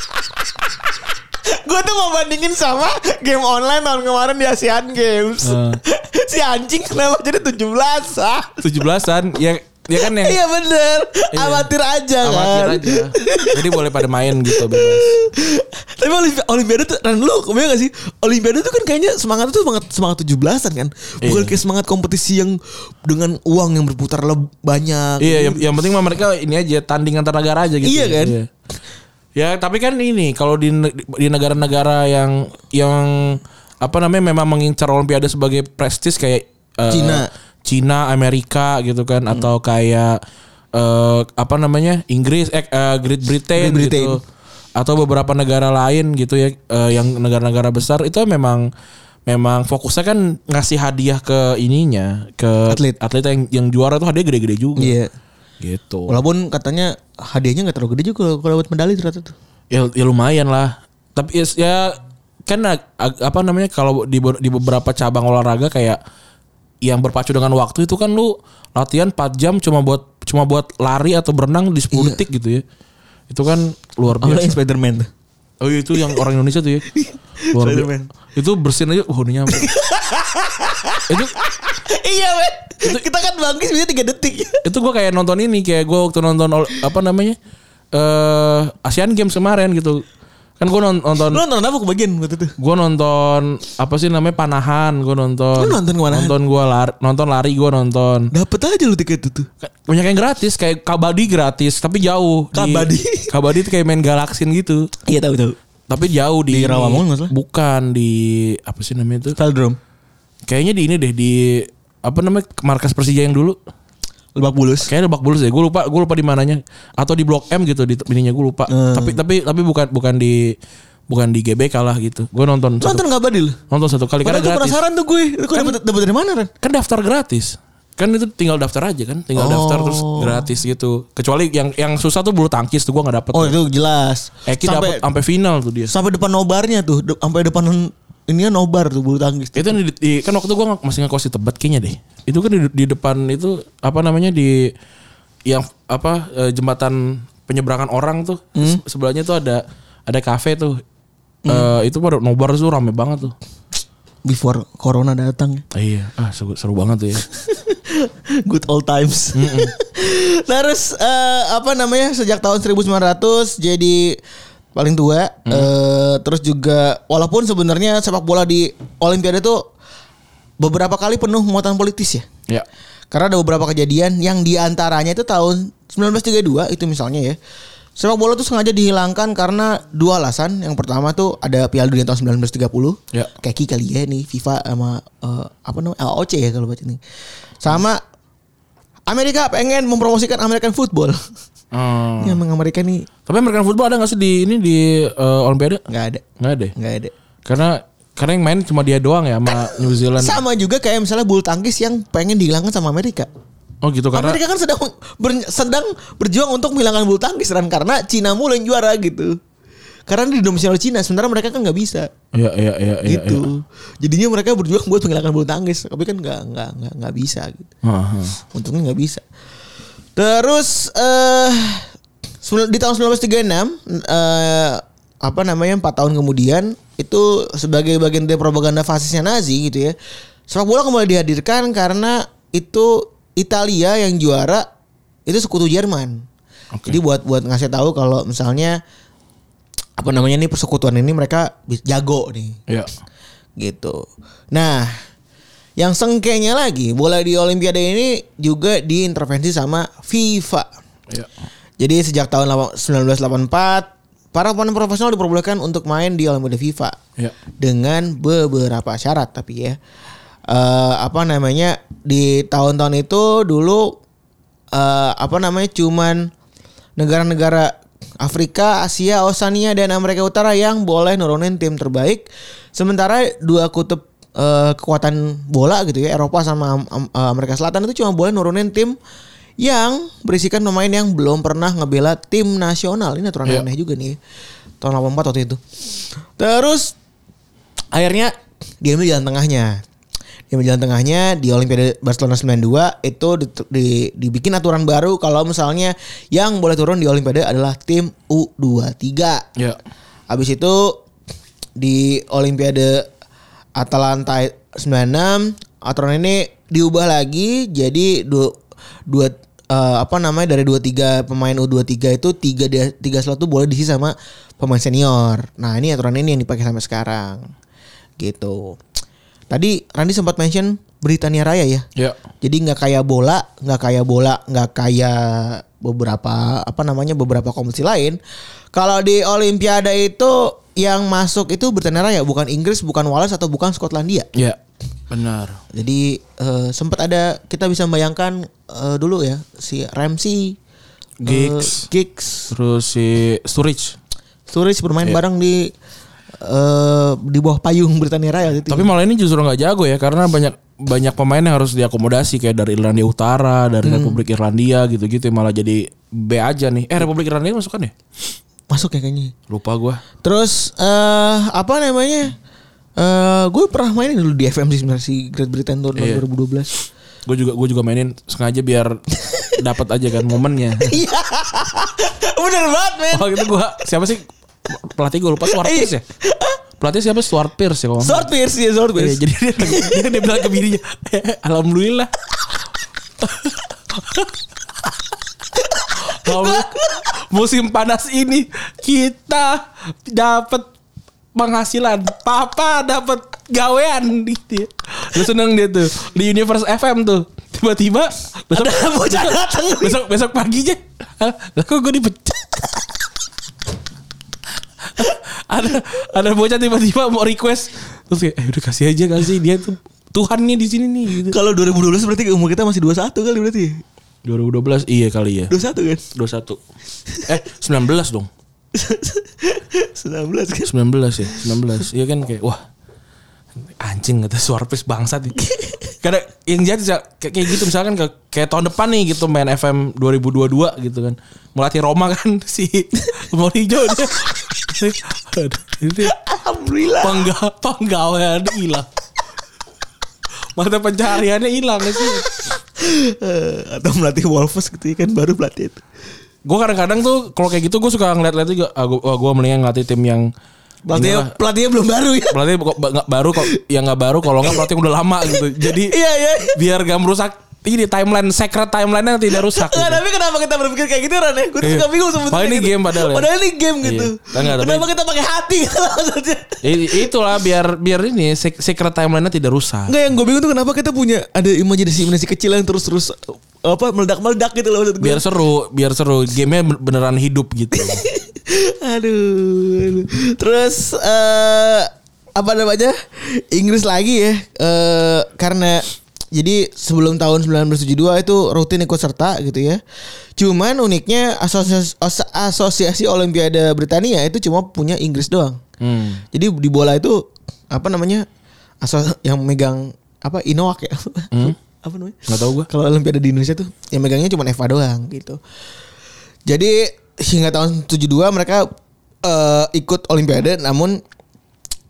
Gue tuh mau bandingin sama game online tahun kemarin di Asian Games. Eh. [LAUGHS] si anjing kenapa jadi 17 ah? 17-an ya ya kan yang Iya bener Iya. Amatir aja kan amatir aja. Jadi boleh pada main gitu bebas. Tapi Olimpi- Olimpiade tuh Ran lu kebayang gak sih Olimpiade tuh kan kayaknya Semangat tuh semangat, semangat 17an kan Bukan Iya. kayak semangat kompetisi yang Dengan uang yang berputar leb- banyak Iya, yang, yang penting mah mereka ini aja tanding antar negara aja gitu. gitu. Iya kan? Ya, tapi kan ini kalau di ne- di negara-negara yang yang apa namanya memang mengincar olimpiade sebagai prestis kayak eh, Cina. Hmm. Cina, Amerika gitu kan atau kayak eh, apa namanya? Inggris eh, eh, Great Britain, Great Britain. gitu. Atau beberapa negara lain gitu ya eh, yang negara-negara besar itu memang memang fokusnya kan ngasih hadiah ke ininya ke Atlet. atlet yang yang juara tuh hadiah gede-gede juga. Iya Gitu. Walaupun katanya Hadiahnya gak terlalu gede juga Kalau buat medali ternyata tuh Ya, ya lumayan lah. Tapi ya, ya kan ag- ag- apa namanya kalau di be- di beberapa cabang olahraga kayak yang berpacu dengan waktu itu kan lu latihan 4 jam cuma buat cuma buat lari atau berenang di 10 detik gitu ya. Itu kan luar Apalagi biasa. Spiderman tuh Oh iya, itu yang orang Indonesia tuh ya. Luar biasa. Spiderman. Itu bersin aja, wah udah nyampe. itu [LAUGHS] Iya men Kita kan bangkit sebenarnya 3 detik itu gue kayak nonton ini kayak gue waktu nonton ol- apa namanya eh Asian Games kemarin gitu kan gue nonton Lu nonton apa kebagian waktu itu? gue nonton apa sih namanya panahan gue nonton Lu nonton kemana? nonton gue lari nonton lari gue nonton Dapat aja lu tiket itu tuh. banyak yang gratis kayak kabadi gratis tapi jauh Di- Kabadi? kabadi itu kayak main galaksin gitu Iya tahu tahu. tapi jauh di, Di Rawamangun nggak salah? bukan di apa sih namanya itu Velodrome. kayaknya di ini deh di apa namanya markas Persija yang dulu Lebak Bulus. kayaknya Lebak Bulus deh gue lupa gue lupa di mananya atau di Blok M gitu di ininya gue lupa Hmm. tapi tapi tapi bukan bukan di bukan di GBK lah gitu gue nonton Lu satu, nonton nggak badil? nonton satu kali Karena karena gue gratis penasaran tuh gue. Kok dapat dapat dari mana Ren? kan daftar gratis kan itu tinggal daftar aja kan tinggal daftar terus gratis gitu kecuali yang yang susah tuh bulu tangkis tuh gua nggak dapet Oh itu jelas. Eki sampai dapet sampai final tuh dia sampai depan nobarnya tuh, De- sampai depan ininya nobar tuh bulu tangkis. itu kan, di, di- kan waktu gua nge- masih ngekos di tebet kayaknya deh itu kan di, di depan itu apa namanya di yang apa eh, jembatan penyeberangan orang tuh Se- sebelahnya tuh ada ada kafe tuh Eh, itu pada nobar tuh rame banget tuh Before corona datang. iya ah seru, seru banget tuh ya [LAUGHS] Good old times. [LAUGHS] Terus eh, apa namanya? Sejak tahun 1900 jadi paling tua. Eh, terus juga walaupun sebenarnya sepak bola di Olimpiade tuh beberapa kali penuh muatan politis ya. ya Karena ada beberapa kejadian yang diantaranya itu tahun 1932 itu misalnya ya. Sepak bola tuh sengaja dihilangkan karena dua alasan. Yang pertama tuh ada Piala Dunia tahun 1930. Ya. Keki kali ya nih FIFA sama eh, apa namanya AOC ya kalau buat ini. Sama Amerika pengen mempromosikan American football. Hmm. Ini Emang Amerika nih tapi American football ada nggak sih di ini di eh, Olimpiade nggak ada, nggak ada ya? nggak ada. Karena Karena yang main cuma dia doang ya sama New Zealand. Sama juga kayak misalnya bulu tangkis yang pengen dihilangkan sama Amerika. Oh gitu karena Amerika kan sedang ber- sedang berjuang untuk menghilangkan bulu tangkis kan karena Cina mulu yang juara gitu. Karena ini didominasi oleh Cina, sementara mereka kan nggak bisa Iya iya iya iya. gitu. Jadinya mereka berjuang buat menghilangkan bulu tangkis, tapi kan nggak nggak nggak nggak bisa gitu. iya. Ah, ah. Untungnya nggak bisa. Terus eh sembil- di tahun 1936 eh apa namanya empat tahun kemudian itu sebagai bagian dari propaganda fasisnya Nazi gitu ya. Sepak bola kembali dihadirkan karena itu Italia yang juara itu sekutu Jerman. Oke. Jadi buat buat ngasih tahu kalau misalnya apa namanya nih persekutuan ini mereka bis- jago nih Iya. gitu. Nah, yang sengkenya lagi bola di Olimpiade ini juga diintervensi sama FIFA. Iya. Jadi sejak tahun lawa- 1984 para pemain profesional diperbolehkan untuk main di Olimpiade FIFA Iya. dengan beberapa syarat tapi ya Eh, apa namanya di tahun-tahun itu dulu eh, apa namanya cuman negara-negara Afrika, Asia, Oceania dan Amerika Utara yang boleh nurunin tim terbaik. Sementara dua kutub eh, kekuatan bola gitu ya Eropa sama Am- Am- eh, Amerika Selatan itu cuma boleh nurunin tim yang berisikan pemain yang belum pernah ngebela tim nasional. Ini aturan Iya. aneh juga nih. Tahun 84 waktu itu. Terus akhirnya diambil jalan tengahnya diambil jalan tengahnya di Olimpiade Barcelona 92 itu di- di- dibikin aturan baru kalau misalnya yang boleh turun di Olimpiade adalah tim U23 Iya. habis itu di Olimpiade Atalanta 96 aturan ini diubah lagi jadi dua, dua eh, apa namanya dari 23 pemain U23 itu tiga dia- tiga slot tuh boleh diisi sama pemain senior. Nah, ini aturan ini yang dipakai sampai sekarang. Gitu. Tadi Randy sempat mention Britania Raya ya. Iya. Jadi nggak kayak bola, nggak kayak bola, nggak kayak beberapa apa namanya beberapa kompetisi lain. Kalau di Olimpiade itu yang masuk itu Britania Raya, bukan Inggris, bukan Wales atau bukan Skotlandia. Iya. Benar. Jadi eh, sempat ada kita bisa membayangkan eh, dulu ya si Ramsey, eh, Giggs. Giggs, Terus si Sturridge. Sturridge bermain bareng di eh, di bawah payung Britania Raya gitu. Tapi malah ini justru nggak jago ya karena banyak banyak pemain yang harus diakomodasi kayak dari Irlandia Utara, dari Hmm. Republik Irlandia gitu-gitu malah jadi B aja nih. Eh Republik Irlandia masuk kan ya? masuk ya kayaknya. Lupa gua. Terus eh apa namanya? Eh gue pernah mainin dulu di FMC sebenarnya si Great Britain tahun 2012. Gue juga gue juga mainin sengaja [LAUGHS] biar dapat aja kan momennya. Iya. [LAUGHS] Bener banget, men. [LAUGHS] Oh gitu gua siapa sih pelatih gue lupa Stuart Iya. Pearce ya? Pelatih siapa Stuart Pearce ya kalau nggak Short pierce ya, short Iya, pierce. jadi dia, dia, dia bilang ke bininya, "Eh, [LAUGHS] alhamdulillah. Alhamdulillah, musim panas ini kita dapat penghasilan. Papa dapat gawean gitu. Lu seneng dia tuh di Universe FM tuh. Tiba-tiba besok Ada bocah datang. besok besok paginya lah kok gue dipecat ada ada bocah tiba-tiba mau request terus kayak eh udah kasih aja kasih dia tuh Tuhannya di sini nih gitu. Kalau 2012 berarti umur kita masih 21 kali berarti. ya? 2012 iya kali ya. 21 kan? [LAUGHS] 21. Eh 19 dong. 19 kan? 19 ya, 19. Iya kan kayak wah anjing kata Suarpes bangsat ini. Karena yang jadi sa- kayak kayak gitu misalkan kayak, kayak tahun depan nih gitu main FM 2022 gitu kan. Melatih Roma kan [LAUGHS] si Mourinho dia. Aduh, ini Alhamdulillah. pengga- penggaweannya hilang. Mata pencahariannya hilang sih. Eh, atau melatih Wolves gitu ya kan baru pelatih itu. Gue kadang-kadang tuh kalau kayak gitu gue suka ngeliat-liat juga. Ah, gue gua mendingan ngelatih tim yang inilah. Pelatihnya, pelatihnya belum baru ya. pelatih kok ba- nggak baru kok yang nggak baru kalau nggak pelatih yang udah lama gitu jadi [LAUGHS] Iya, iya. biar gak merusak ini timeline secret timeline yang tidak rusak Enggak, gitu. tapi kenapa kita berpikir kayak gitu Ran ya? Gue tuh Iya. suka bingung sebetulnya. Padahal ini gitu. game padahal ya. Padahal ini game gitu. Iya. Enggak, tapi- Kenapa kita pakai hati [LAUGHS] kalau maksudnya? I- itulah biar biar ini sec- secret timeline-nya tidak rusak Enggak yang gue bingung tuh kenapa kita punya ada imajinasi imajinasi kecil yang terus terus apa meledak meledak gitu loh maksud gue. biar seru biar seru gamenya ben- beneran hidup gitu aduh, aduh. Terus eh apa namanya? Inggris lagi ya. Eh karena jadi sebelum tahun 1972 itu rutin ikut serta gitu ya. Cuman uniknya asosiasi, os- asosiasi Olimpiade Britania itu cuma punya Inggris doang. hmm. Jadi di bola itu apa namanya asal yang megang apa Inowak ya [LAUGHS] apa namanya Nggak tahu gua. kalau Olimpiade di Indonesia tuh yang megangnya cuma Eva doang gitu jadi hingga tahun 72 mereka eh, ikut Olimpiade namun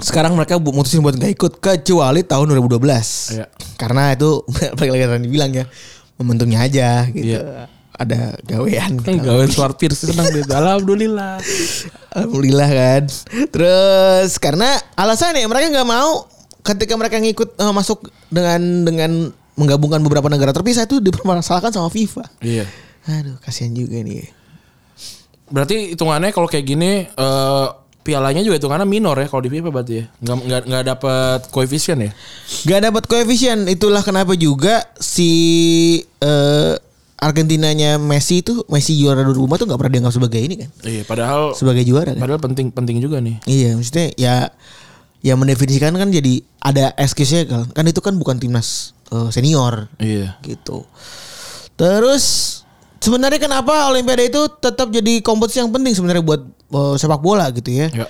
sekarang mereka bu- mutusin buat nggak ikut kecuali tahun 2012 Iya. karena itu [LAUGHS] balik lagi tadi bilang ya momentumnya aja gitu Iya. ada gawean gitu. Kan gawe suar pierce senang dia. Alhamdulillah. Alhamdulillah kan. Terus karena alasannya mereka nggak mau ketika mereka ngikut eh, masuk dengan dengan menggabungkan beberapa negara terpisah itu dipermasalahkan sama FIFA. Iya. Aduh, kasihan juga nih. Berarti hitungannya kalau kayak gini eh pialanya juga hitungannya minor ya kalau di FIFA berarti ya. Nggak nggak nggak dapat koefisien ya. Gak dapat koefisien, itulah kenapa juga si eh, Argentinanya Messi itu Messi juara di rumah tuh nggak pernah dianggap sebagai ini kan, Iya, padahal sebagai juara kan. padahal penting penting juga nih. Iya, maksudnya ya ya mendefinisikan kan jadi ada excuse-nya kan. Kan itu kan bukan timnas eh, senior. Iya. gitu. Terus sebenarnya kenapa Olimpiade itu tetap jadi kompetisi yang penting sebenarnya buat eh, sepak bola gitu ya? Ya.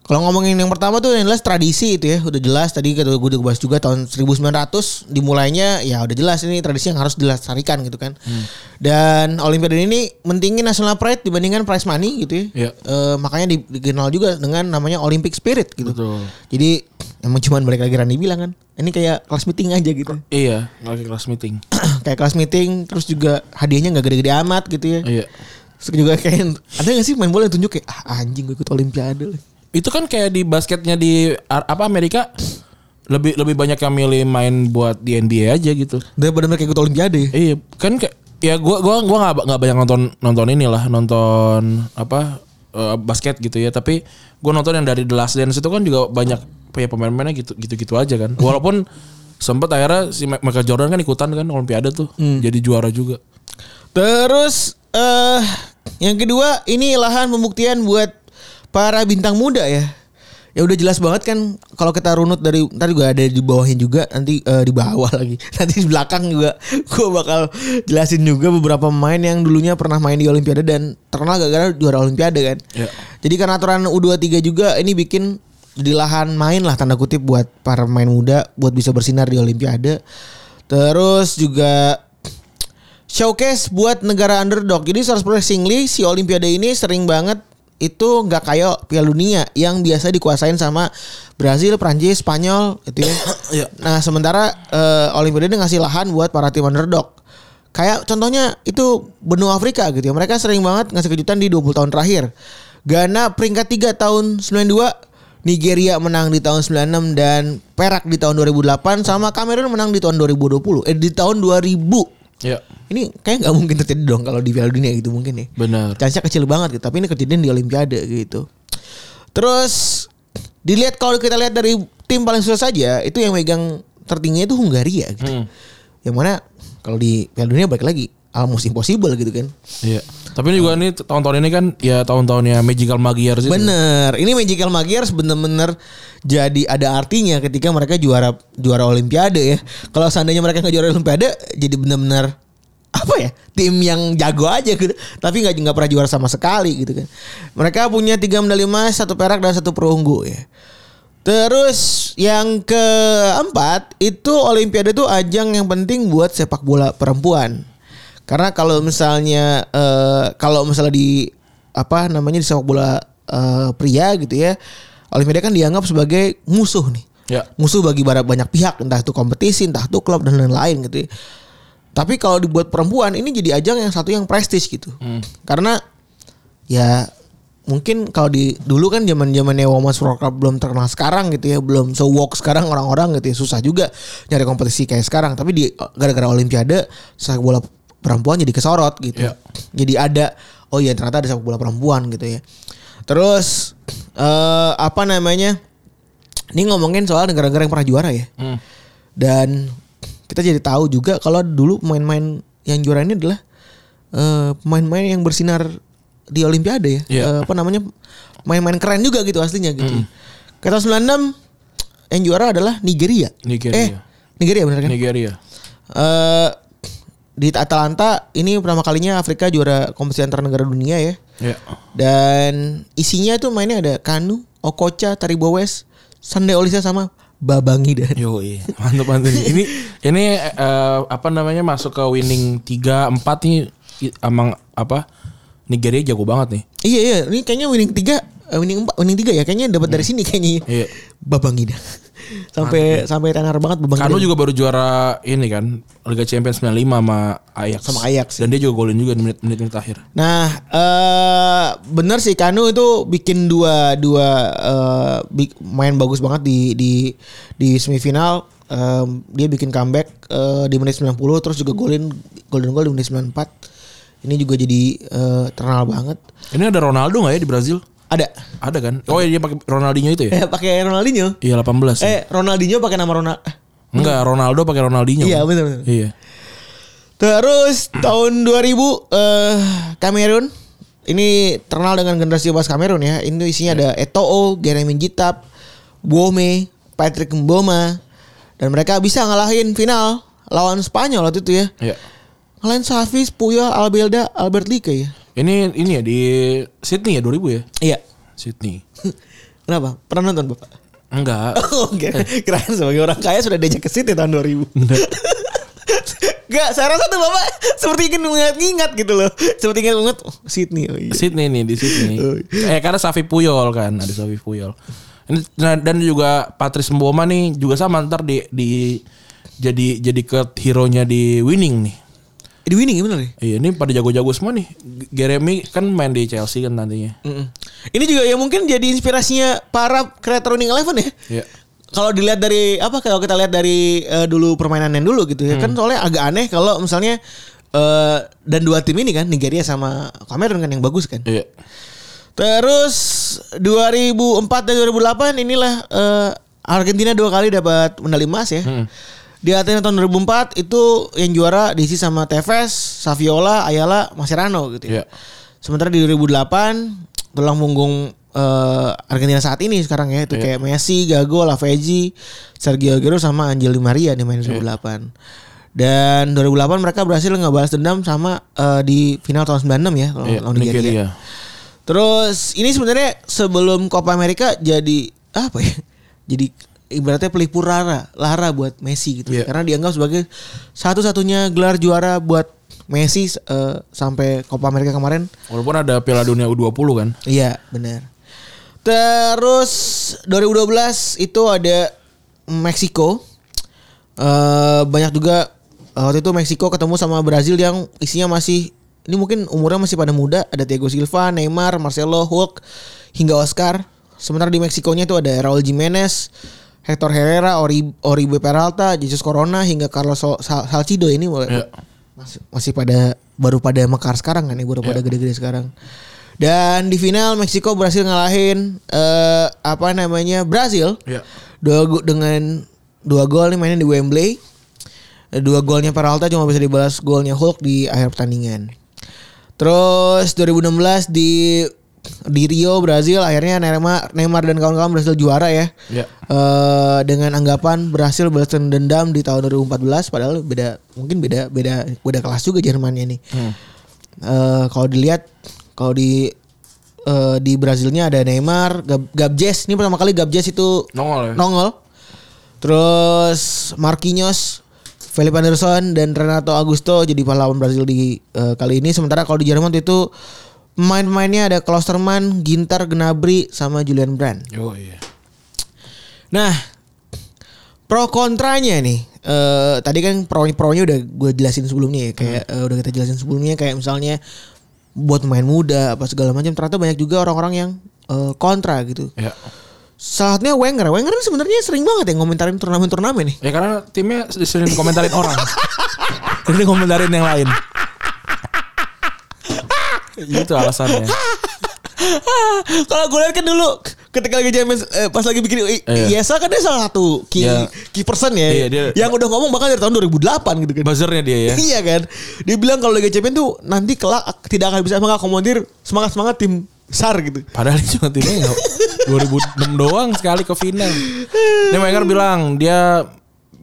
Kalau ngomongin yang pertama tuh yang jelas tradisi itu ya udah jelas tadi kata gue udah bahas juga tahun 1900 dimulainya ya udah jelas ini tradisi yang harus dilestarikan gitu kan. Hmm. Dan Olimpiade ini mentingin national pride dibandingkan prize money gitu ya. Iya. Eh, makanya di- dikenal juga dengan namanya Olympic spirit gitu. Betul. Jadi emang cuman balik lagi Randy bilang kan. Ini kayak kelas meeting aja gitu [CLEARS THROAT] Iya, lagi kelas meeting. kayak kelas meeting terus juga hadiahnya nggak gede-gede amat gitu ya. iya. Terus juga kayak ada gak sih main bola yang tunjuk kayak ah, anjing gue ikut olimpiade lah. Itu kan kayak di basketnya di Ar- apa Amerika lebih lebih banyak yang milih main buat di NBA aja gitu. Daripada mereka ikut olimpiade. ya. Iya, kan kayak ya gua gua gua nggak nggak banyak nonton nonton inilah, nonton apa eh, basket gitu ya, tapi gua nonton yang dari The Last Dance itu kan juga banyak ya pemain-pemainnya gitu gitu-gitu aja kan. Walaupun sempet akhirnya si Ma- Michael Jordan kan ikutan kan Olimpiade tuh, jadi juara juga. Terus eh yang kedua ini lahan pembuktian buat para bintang muda ya. Ya udah jelas banget kan kalau kita runut dari ntar juga ada di bawahnya juga nanti eh, di bawah [LAUGHS] lagi. Nanti di belakang juga [LAUGHS] gua bakal jelasin juga beberapa pemain yang dulunya pernah main di olimpiade dan terkenal gara-gara juara olimpiade kan. Iya. Jadi karena aturan U23 juga ini bikin jadi lahan main lah tanda kutip buat para pemain muda buat bisa bersinar di olimpiade. Terus juga showcase buat negara underdog. Jadi surprisingly si Olimpiade ini sering banget itu nggak kayak Piala Dunia yang biasa dikuasain sama Brazil, Prancis, Spanyol gitu ya. Iya. Nah, sementara eh, Olimpiade ini ngasih lahan buat para tim underdog. Kayak contohnya itu benua Afrika gitu ya. Mereka sering banget ngasih kejutan di 20 tahun terakhir. Ghana peringkat 3 tahun 92 Nigeria menang di tahun 96 dan Perak di tahun 2008 sama Kamerun menang di tahun 2020 eh di tahun 2000 Iya, ini kayak nggak mungkin terjadi dong kalau di Piala Dunia gitu mungkin ya. benar. Chance-nya kecil banget gitu, tapi ini kejadian di Olimpiade gitu. Terus dilihat kalau kita lihat dari tim paling sukses saja itu yang megang tertingginya itu Hungaria gitu. Hmm. Yang mana kalau di Piala Dunia balik lagi almost impossible gitu kan. Iya. Tapi ini juga nih tahun-tahun ini kan ya tahun-tahunnya Magical Magyar sih. Bener. Ini Magical Magyars bener-bener jadi ada artinya ketika mereka juara juara Olimpiade ya. Kalau seandainya mereka nggak juara Olimpiade, jadi bener-bener apa ya tim yang jago aja gitu. Tapi nggak nggak pernah juara sama sekali gitu kan. Mereka punya tiga medali emas, satu perak dan satu perunggu ya. Terus yang keempat itu Olimpiade itu ajang yang penting buat sepak bola perempuan. Karena kalau misalnya eh, kalau misalnya di apa namanya di sepak bola eh, pria gitu ya, Olimpiade kan dianggap sebagai musuh nih. Ya. Musuh bagi bara- banyak pihak, entah itu kompetisi, entah itu klub dan lain-lain gitu. ya. Tapi kalau dibuat perempuan ini jadi ajang yang satu yang prestis gitu. Karena ya mungkin kalau di dulu kan zaman zamannya Women's World Cup belum terkenal sekarang gitu ya belum so walk sekarang orang-orang gitu ya susah juga nyari kompetisi kayak sekarang tapi di gara-gara Olimpiade sepak bola perempuan jadi kesorot gitu Iya. jadi ada oh iya ternyata ada sepak bola perempuan gitu ya terus eh apa namanya ini ngomongin soal negara-negara yang pernah juara ya Hmm. dan kita jadi tahu juga kalau dulu pemain-pemain yang juara ini adalah eh, pemain-pemain yang bersinar di Olimpiade ya. Iya. Eh, apa namanya? Pemain-pemain keren juga gitu aslinya gitu. Kata 96 yang juara adalah Nigeria. Nigeria. Eh, Nigeria Iya. bener kan? Nigeria. Eh, di Atalanta ini pertama kalinya Afrika juara kompetisi antar negara dunia ya. Ya. Dan isinya tuh mainnya ada Kanu, Okocha, Taribo West, Sunday Olisa sama Babangi dan [LAUGHS] Yo, iya. [LAUGHS] mantap mantap. ini ini eh, apa namanya masuk ke winning 3 4 nih i- emang apa Nigeria jago banget nih. Iya iya, ini kayaknya winning 3 winning 4, winning 3 ya kayaknya dapat dari sini kayaknya. Iya. Babangi dah. [LAUGHS] Sampai sampai tenar banget Babangi. Kano dah. juga baru juara ini kan Liga Champions 95 sama Ajax. Sama Ajax, iya. Dan dia juga golin juga di menit-menit menit akhir. Nah, eh bener sih Kanu itu bikin dua dua eh, bi- main bagus banget di di di semifinal. Em, dia bikin comeback eh, di menit 90 terus juga golin golden goal di menit 94. Ini juga jadi eh, terkenal banget. Ini ada Ronaldo nggak ya di Brazil? Ada Ada kan? Oh iya dia pakai Ronaldinho itu eh ya? pakai Ronaldinho. Iya 18. ya? Eh Ronaldinho pakai nama Ronald. eh, Enggak, Ronaldo pakai Ronaldinho. Iya, kan? benar, benar. Iya. Terus tahun 2000 eh Kamerun ini terkenal dengan generasi emas Kamerun ya. Ini isinya ada Eto'o, Jeremy Jitap, Bome, Patrick Mboma dan mereka bisa ngalahin final lawan Spanyol waktu itu ya. Iya. Ngalahin Savis, Puyol, Albelda, Albert Lique ya. Ini ini ya di Sydney ya 2000 ya? Iya. Sydney. Kenapa? Pernah nonton Bapak? [LAUGHS] Eh. Oh, Enggak. Oke, keren sebagai orang kaya sudah diajak ke situ tahun 2000. [LAUGHS] Enggak, saya rasa tuh Bapak seperti ingin mengingat-ingat gitu loh. Seperti ingin mengingat oh, Sydney. Oh, iya. Sydney nih di Sydney. Oh. eh karena Safi Puyol kan, ada Safi Puyol. Ini nah, dan juga Patrice Mboma nih juga sama ntar di di jadi jadi ke hero-nya di winning nih. Di winning ya bener nih. Iya, ini pada jago-jago semua nih. G- Jeremy kan main di Chelsea kan nantinya. Ini juga yang mungkin jadi inspirasinya para kreator winning eleven ya. Iya. Kalau dilihat dari apa kalau kita lihat dari eh, dulu permainan yang dulu gitu ya kan soalnya agak aneh kalau misalnya eh, dan dua tim ini kan Nigeria sama Kamerun kan yang bagus kan. Iya. Terus 2004 dan 2008 inilah eh, Argentina dua kali dapat medali emas ya. Hmm. Di Athena tahun 2004 itu yang juara diisi sama Tevez, Saviola, Ayala, Mascherano gitu ya. Iya. Sementara di 2008 tulang punggung eh, Argentina saat ini sekarang ya itu Iya. kayak Messi, Gago, Lavezzi, Sergio Aguero sama Angel Di Maria di main Iya. 2008. Dan 2008 mereka berhasil ngebalas dendam sama eh, di final tahun 96 ya lawan, Iya, lawan Nigeria. Nigeria. Terus ini sebenarnya sebelum Copa America jadi apa ya? [LAUGHS] Jadi ibaratnya pelipur lara, lara buat Messi gitu. Iya. Karena dianggap sebagai satu-satunya gelar juara buat Messi eh, sampai Copa America kemarin. Walaupun ada Piala Dunia U20 kan. Iya, benar. Terus 2012 itu ada Meksiko. Eh banyak juga eh, waktu itu Meksiko ketemu sama Brazil yang isinya masih ini mungkin umurnya masih pada muda, ada Thiago Silva, Neymar, Marcelo, Hulk hingga Oscar. Sementara di Meksikonya itu ada Raul Jimenez, Hector Herrera, Ori- Oribe Peralta, Jesus Corona hingga Carlos Sol- Sal- Salcido ini mulai Iya. masih, masih pada baru pada mekar sekarang kan ya baru pada gede-gede sekarang dan di final Meksiko berhasil ngalahin eh, apa namanya Brazil Iya. dua go- dengan dua gol nih mainnya di Wembley dua golnya Peralta cuma bisa dibalas golnya Hulk di akhir pertandingan terus 2016 di di Rio Brazil akhirnya Neymar Neymar dan kawan-kawan berhasil juara ya Iya. eh dengan anggapan berhasil balas dendam di tahun 2014 padahal beda mungkin beda beda beda kelas juga Jermannya nih. Hmm. Eh, kalau dilihat kalau di eh, di Brazilnya ada Neymar, Gab- Gabjes ini pertama kali Gabjes itu Nongol ya. nongol. Terus Marquinhos, Felipe Anderson dan Renato Augusto jadi pahlawan Brazil di eh, kali ini. Sementara kalau di Jerman waktu itu pemain-pemainnya ada Klosterman, Ginter, Gnabry sama Julian Brand. Yo, iya. Nah, pro kontranya nih. Eh tadi kan pro pronya udah gue jelasin sebelumnya ya, kayak Hmm. eh, udah kita jelasin sebelumnya kayak misalnya buat main muda apa segala macam. Ternyata banyak juga orang-orang yang eh, kontra gitu. Iya. Salah satunya Wenger. Wenger ini sebenarnya sering banget ya ngomentarin turnamen-turnamen nih. [LAUGHS] Ya karena timnya sering komentarin orang. Sering komentarin yang lain. Itu Gitu alasannya. Kalau gue lihat kan dulu ketika lagi Champions eh, pas lagi bikin I- Iya. ISL kan dia salah satu key Iya. key person ya. Iya, dia- yang udah ngomong bahkan dari tahun 2008 gitu kan. Buzzernya dia ya. [LAUGHS] Iya kan. Dia bilang kalau Liga Champions tuh nanti kelak tidak akan bisa mengakomodir semangat-semangat tim besar gitu. Padahal dia cuma timnya ya 2006 doang sekali ke final. Ini Wenger bilang dia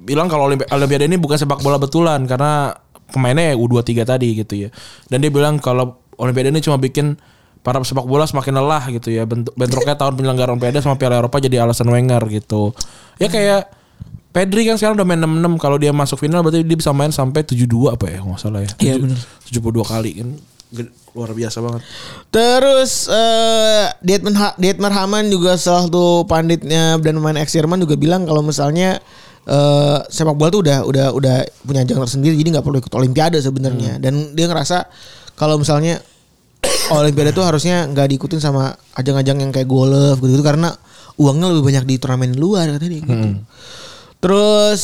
bilang kalau Olimpi- Olimpiade ini bukan sepak bola betulan karena pemainnya ya U23 tadi gitu ya. Dan dia bilang kalau Olimpiade ini cuma bikin para sepak bola semakin lelah gitu ya. Bentuk bentroknya tahun penyelenggaraan Olimpiade sama Piala Eropa jadi alasan Wenger gitu. Ya kayak Pedri kan sekarang udah main 66 kalau dia masuk final berarti dia bisa main sampai 72 apa ya nggak salah ya. Iya, Tujuh- bener. 72 kali kan Gede- luar biasa banget. Terus eh Dietmar, Ha- Dietmar Hamann juga salah satu panditnya dan pemain ex Jerman juga bilang kalau misalnya eh sepak bola tuh udah udah udah punya ajang tersendiri jadi nggak perlu ikut olimpiade sebenarnya dan dia ngerasa kalau misalnya [COUGHS] olimpiade tuh harusnya nggak diikutin sama ajang-ajang yang kayak golf gitu, gitu karena uangnya lebih banyak di turnamen luar katanya dia gitu. Terus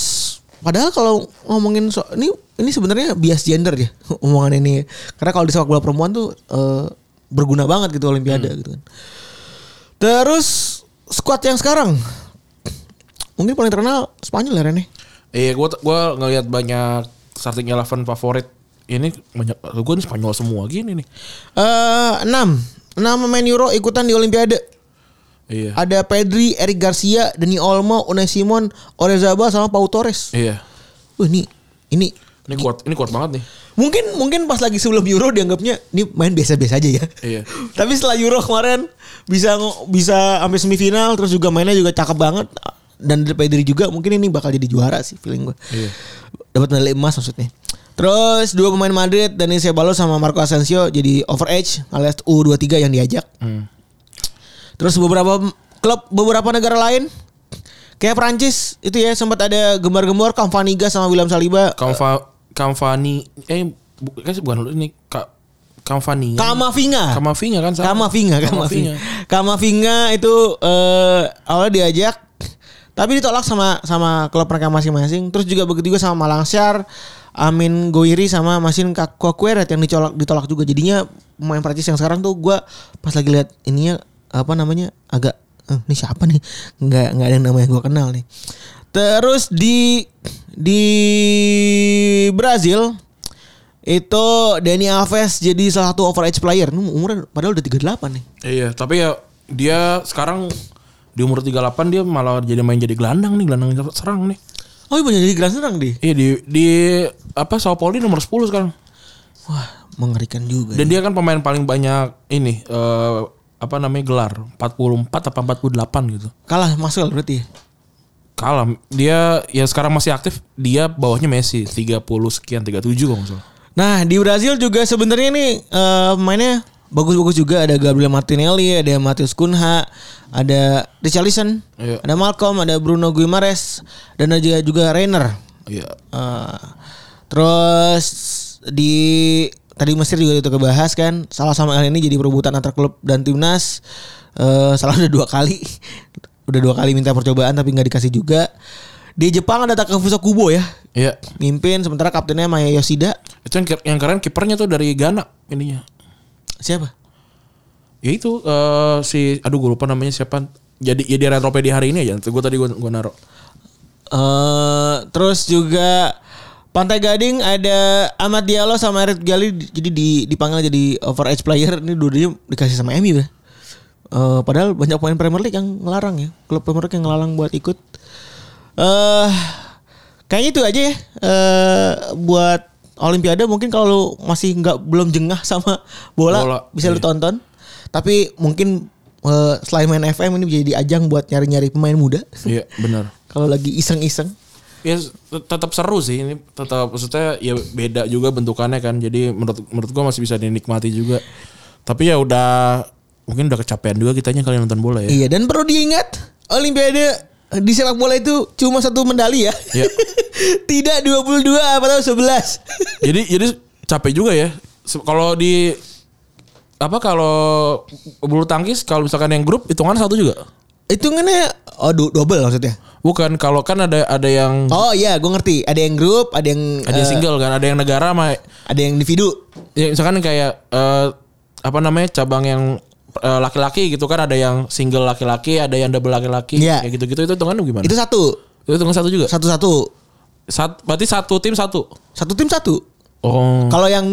padahal kalau ngomongin so ini ini sebenarnya bias gender ya [LAUGHS] omongan ini. Karena kalau di sepak bola perempuan tuh eh, berguna banget gitu olimpiade gitu kan. Terus squad yang sekarang mungkin paling terkenal Spanyol ya Rene. Iya, gua gua ngelihat banyak starting eleven favorit ini banyak gua nih Spanyol semua gini nih. Eh 6 6 pemain Euro ikutan di olimpiade. Iya. Ada Pedri, Eric Garcia, Dani Olmo, Unai Simon, Orezabal sama Pau Torres. Iya. Wah, ini ini Ini kuat, ini kuat banget nih. Mungkin mungkin pas lagi sebelum Euro dianggapnya ini main biasa-biasa aja ya. Iya. [LAUGHS] Tapi setelah Euro kemarin bisa ngo- bisa sampai semifinal terus juga mainnya juga cakep banget dan dari Pedri juga mungkin ini bakal jadi juara sih feeling gue. Iya. Dapat medali emas maksudnya. Terus dua pemain Madrid Dani Ceballos sama Marco Asensio jadi overage alias U23 yang diajak. Hmm. Terus beberapa klub beberapa negara lain kayak Prancis itu ya sempat ada gembar-gembor Kamvaniga sama William Saliba. Kamfa Kamfani eh bu- kan bukan lu ini Ka, Kamfani. Kamavinga. Kamavinga kan sama. Kamavinga, Kamavinga. Kamavinga itu eh awalnya diajak tapi ditolak sama sama klub mereka masing-masing. Terus juga begitu juga sama Malangsyar, Amin Goiri sama Masin Kakueret yang ditolak ditolak juga. Jadinya pemain Prancis yang sekarang tuh gua pas lagi lihat ininya apa namanya agak eh, ini siapa nih? Nggak nggak ada yang namanya gua kenal nih. Terus di di Brazil itu Dani Alves jadi salah satu overage player. Ini umurnya padahal udah 38 nih. Iya, tapi ya dia sekarang di umur 38 dia malah jadi main jadi gelandang nih, gelandang serang nih. Oh iya bener, jadi gelandang serang deh. Iya di di apa Sao Paulo nomor 10 sekarang. Wah mengerikan juga. ya. Dan dia kan pemain paling banyak ini eh, apa namanya gelar 44 apa 48 gitu. Kalah Maxwell berarti. ya? Kalah dia ya sekarang masih aktif, dia bawahnya Messi 30 sekian 37 kalau nggak salah. Nah di Brazil juga sebenarnya nih eh, pemainnya bagus-bagus juga. Ada Gabriel Martinelli, ada Matheus Cunha, ada Richarlison, Iya. ada Malcolm, ada Bruno Guimares, dan ada juga- juga Reiner. Iya. Eh, terus di tadi Mesir juga itu kebahas kan salah sama El ini jadi perebutan antar klub dan timnas Eh, salah udah dua kali [LAUGHS] udah dua kali minta percobaan tapi nggak dikasih juga di Jepang ada Takafusa Kubo ya Iya. mimpin sementara kaptennya Maya Yoshida Itu yang, yang keren kipernya tuh dari Ghana ininya. siapa Ya itu eh, si aduh gue lupa namanya siapa. Jadi ya di retropedia hari ini aja. Gue tadi gue gue naro. eh terus juga Pantai Gading ada Ahmad Diallo sama Erik Gali jadi di- dipanggil jadi overage player ini dua-duanya dikasih sama MU ya. Eh, padahal banyak pemain Premier League yang ngelarang ya. Klub Premier League yang ngelarang buat ikut. Eh kayaknya itu aja ya. Eh buat Olimpiade mungkin kalau lu masih nggak belum jengah sama bola, Bola, bisa lu iya. tonton. Tapi mungkin eh, selain main FM ini jadi ajang buat nyari-nyari pemain muda. Iya benar. kalau lagi iseng-iseng. Ya tet- tetap seru sih ini tetap maksudnya ya beda juga bentukannya kan. Jadi menurut menurut gue masih bisa dinikmati juga. Tapi ya udah mungkin udah kecapean juga kitanya kalian nonton bola ya. Iya dan perlu diingat Olimpiade eh, di sepak bola itu cuma satu medali ya. Iya. [LAUGHS] Tidak 22 atau 11. jadi jadi capek juga ya. Se- Kalau di apa kalau bulu tangkis kalau misalkan yang grup hitungan satu juga. [LAUGHS] Hitungannya oh du- double maksudnya. Bukan kalau kan ada ada yang Oh iya, gue ngerti. Ada yang grup, ada yang ada yang eh, single kan, ada yang negara sama ada yang individu. ya misalkan kayak eh, apa namanya cabang yang eh, laki-laki gitu kan ada yang single laki-laki ada yang double laki-laki Iya. kayak gitu-gitu itu hitungan gimana Itu itu, satu. hitungan satu juga Satu-satu. Sat- berarti satu tim satu Satu tim satu. oh Kalau yang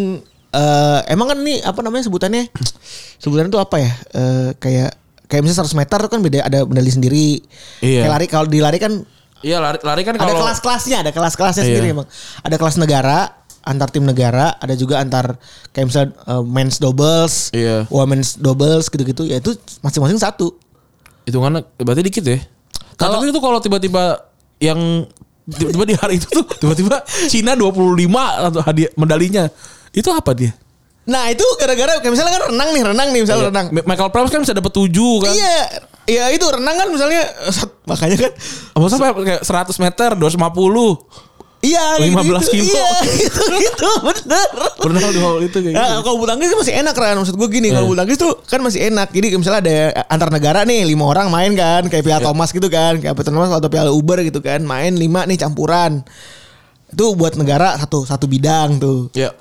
eh, emang kan ini apa namanya sebutannya? sebutannya itu apa ya? Eh, kayak kayak misalnya 100 meter kan beda ada medali sendiri. Iya. Kayak lari kalau dilari kan iya lari, lari kan ada kalau kelas-kelasnya, ada kelas-kelasnya Iya. sendiri emang. Ada kelas negara, antar tim negara, ada juga antar kayak misalnya eh, men's doubles, Iya. women's doubles gitu-gitu. Ya itu masing-masing satu. Hitungannya berarti dikit ya. Nah, tapi itu kalau tiba-tiba yang tiba-tiba di hari itu tuh tiba-tiba Cina 25 atau hadiah medalinya. Itu apa dia? Nah itu gara-gara kayak misalnya kan renang nih, renang nih misalnya renang. Ma- Michael Phelps kan bisa dapat 7 kan. Iya, iya itu renang kan misalnya eh, sat- makanya kan Apa sampai kayak 100 meter 250. iya 15 gitu, Oh, kilo. Iya, [LAUGHS] gitu, gitu bener. Berenang di hall itu kayak gitu. Nah, kalau bulu tangkis masih enak kan maksud gue gini kalau Iya. bulu tangkis tuh kan masih enak jadi kayak misalnya ada antar negara nih lima orang main kan kayak Iya. Piala Thomas gitu kan kayak Piala Thomas atau Piala Uber gitu kan main lima nih campuran itu buat negara satu satu bidang tuh Ya.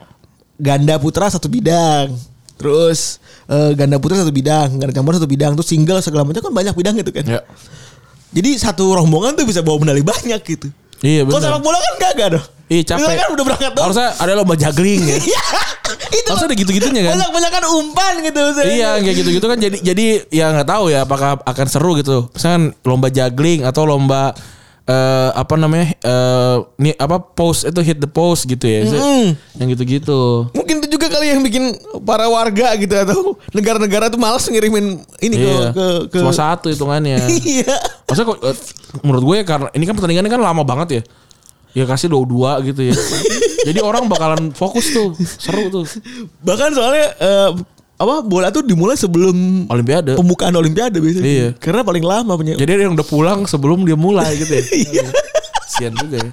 ganda putra satu bidang terus eh, ganda putra satu bidang ganda campuran satu bidang terus single segala macam kan banyak bidang gitu kan Ya. jadi satu rombongan tuh bisa bawa medali banyak gitu Iya kalau sepak benar. bola kan kagak dong Iya capek. Misalnya kan udah berangkat doang. Harusnya ada lomba juggling ya. [LAUGHS] Iya, itu Harusnya ada gitu-gitunya kan. banyak banyak kan umpan gitu misalnya. Iya kayak gitu-gitu kan jadi jadi ya nggak tahu ya apakah akan seru gitu. Misalkan lomba juggling atau lomba eh, apa namanya eh, ni- apa post itu hit the post gitu ya. Yang gitu-gitu. Mungkin itu juga kali yang bikin para warga gitu atau negara-negara tuh malas ngirimin ini ke- Iya. ke ke Cuma satu hitungannya. [LAUGHS] Iya. Maksudnya kok eh, menurut gue ya karena ini kan pertandingannya kan lama banget ya. Ya kasih dua dua gitu [LAUGHS] ya. jadi orang bakalan fokus tuh. Seru tuh. Bahkan soalnya eh, apa bola tuh dimulai sebelum Olimpiade. pembukaan olimpiade biasanya. Iya. Karena paling lama punya. [LAUGHS] Iya. Jadi ada yang udah pulang sebelum dia mulai gitu ya. Sian juga ya.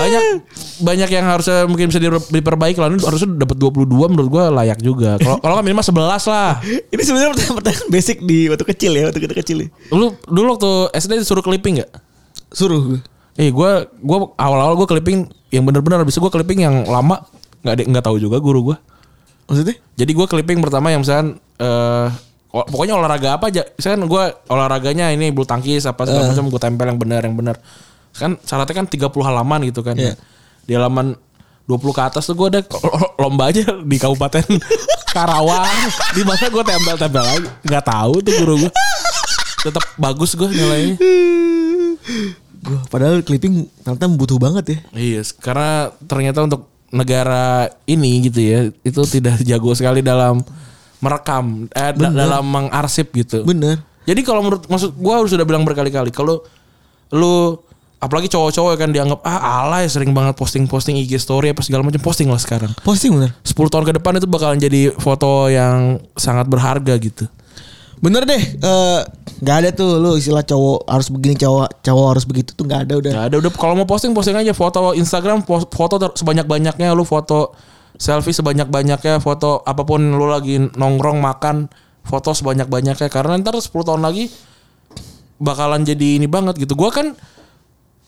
Banyak banyak yang harusnya mungkin bisa diper- diperbaiki lah. Ini harusnya dapat 22 menurut gua layak juga. Kalau kalau nggak minimal 11 lah. Ini sebenarnya pertanyaan, pertanyaan basic di waktu kecil ya, waktu kita kecil. ya. Lu dulu waktu SD disuruh clipping nggak? Suruh gue. Eh gua gua awal-awal gua clipping yang bener-bener habis itu gua clipping yang lama nggak ada nggak tahu juga guru gua. Maksudnya? Jadi gua clipping pertama yang misalkan eh o- pokoknya olahraga apa aja. Misalkan gua olahraganya ini bulu tangkis apa segala macam gua tempel yang benar yang benar. Kan syaratnya kan 30 halaman gitu kan. Iya. Di halaman 20 ke atas tuh gua ada lo- lo- lomba aja di kabupaten Karawang. Di mana gua tempel-tempel lagi. Nggak tahu tuh guru gua. Tetap bagus gua nilainya. Gue padahal clipping ternyata butuh banget ya. Iya, s- karena ternyata untuk negara ini gitu ya, itu tidak jago sekali dalam merekam, eh, da- dalam mengarsip gitu. Bener. Jadi kalau menurut maksud gua harus sudah bilang berkali-kali kalau lu apalagi cowok-cowok kan dianggap ah alay sering banget posting-posting IG story apa segala macam posting lah sekarang. Posting bener. 10 tahun ke depan itu bakalan jadi foto yang sangat berharga gitu. Bener deh, eh, nggak ada tuh lu istilah cowok harus begini, cowok cowok harus begitu tuh nggak ada udah. Gak ada udah kalau mau posting posting aja foto Instagram pos- foto ter- sebanyak-banyaknya lu foto selfie sebanyak-banyaknya foto apapun lu lagi nongkrong makan foto sebanyak-banyaknya karena ntar 10 tahun lagi bakalan jadi ini banget gitu. Gua kan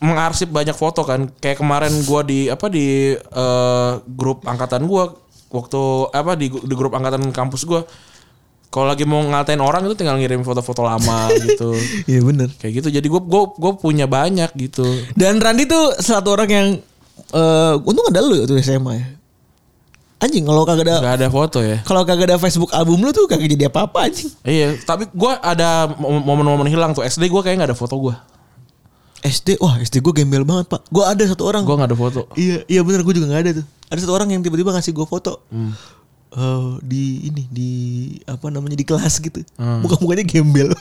mengarsip banyak foto kan. Kayak kemarin gua di apa di eh, grup angkatan gua waktu apa di, di grup angkatan kampus gua kalau lagi mau ngatain orang itu tinggal ngirim foto-foto lama gitu. Iya bener. Kayak gitu. Jadi gua gua gua punya banyak gitu. Dan Randi tuh satu orang yang eh untung ada lu tuh SMA ya. Anjing kalau kagak ada Gak ada foto ya. kalau kagak ada Facebook album lu tuh kagak jadi apa-apa anjing. Iya, tapi gua ada mom- momen-momen hilang tuh. SD gua kayak gak ada foto gua. SD, wah SD gue gembel banget pak. Gue ada satu orang. Gua gak ada foto. Iya iya bener gue juga nggak ada tuh. Ada satu orang yang tiba-tiba ngasih gue foto. Eh, di ini di apa namanya di kelas gitu. Muka-mukanya gembel.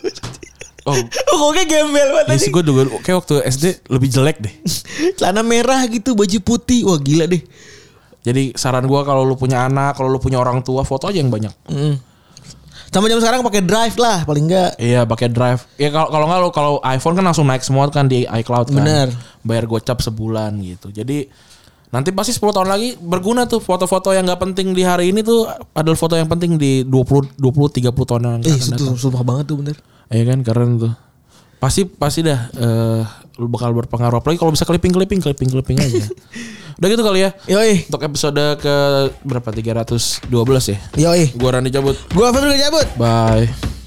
Oh, Muka-mukanya gembel banget. iya anjing. sih gua juga kayak waktu SD lebih jelek deh. [LAUGHS] celana merah gitu baju putih wah gila deh Jadi saran gua kalau lu punya anak, kalau lu punya orang tua, foto aja yang banyak. sama jam sekarang pakai drive lah paling enggak Iya, pakai drive. Ya kalau kalau nggak lu kalau iPhone kan langsung naik semua kan di iCloud kan. Bener. Bayar gocap sebulan gitu. Jadi nanti pasti 10 tahun lagi berguna tuh foto-foto yang nggak penting di hari ini tuh adalah foto yang penting di 20 20 30 tahun eh yang akan datang. itu sumpah banget tuh bener Iya kan keren tuh. Pasti pasti dah eh, lu bakal berpengaruh apalagi kalau bisa clipping clipping clipping clipping aja. Udah gitu kali ya. yoi Untuk episode ke berapa 312 ya. yoi Gua Rani cabut. gua Febri cabut Bye.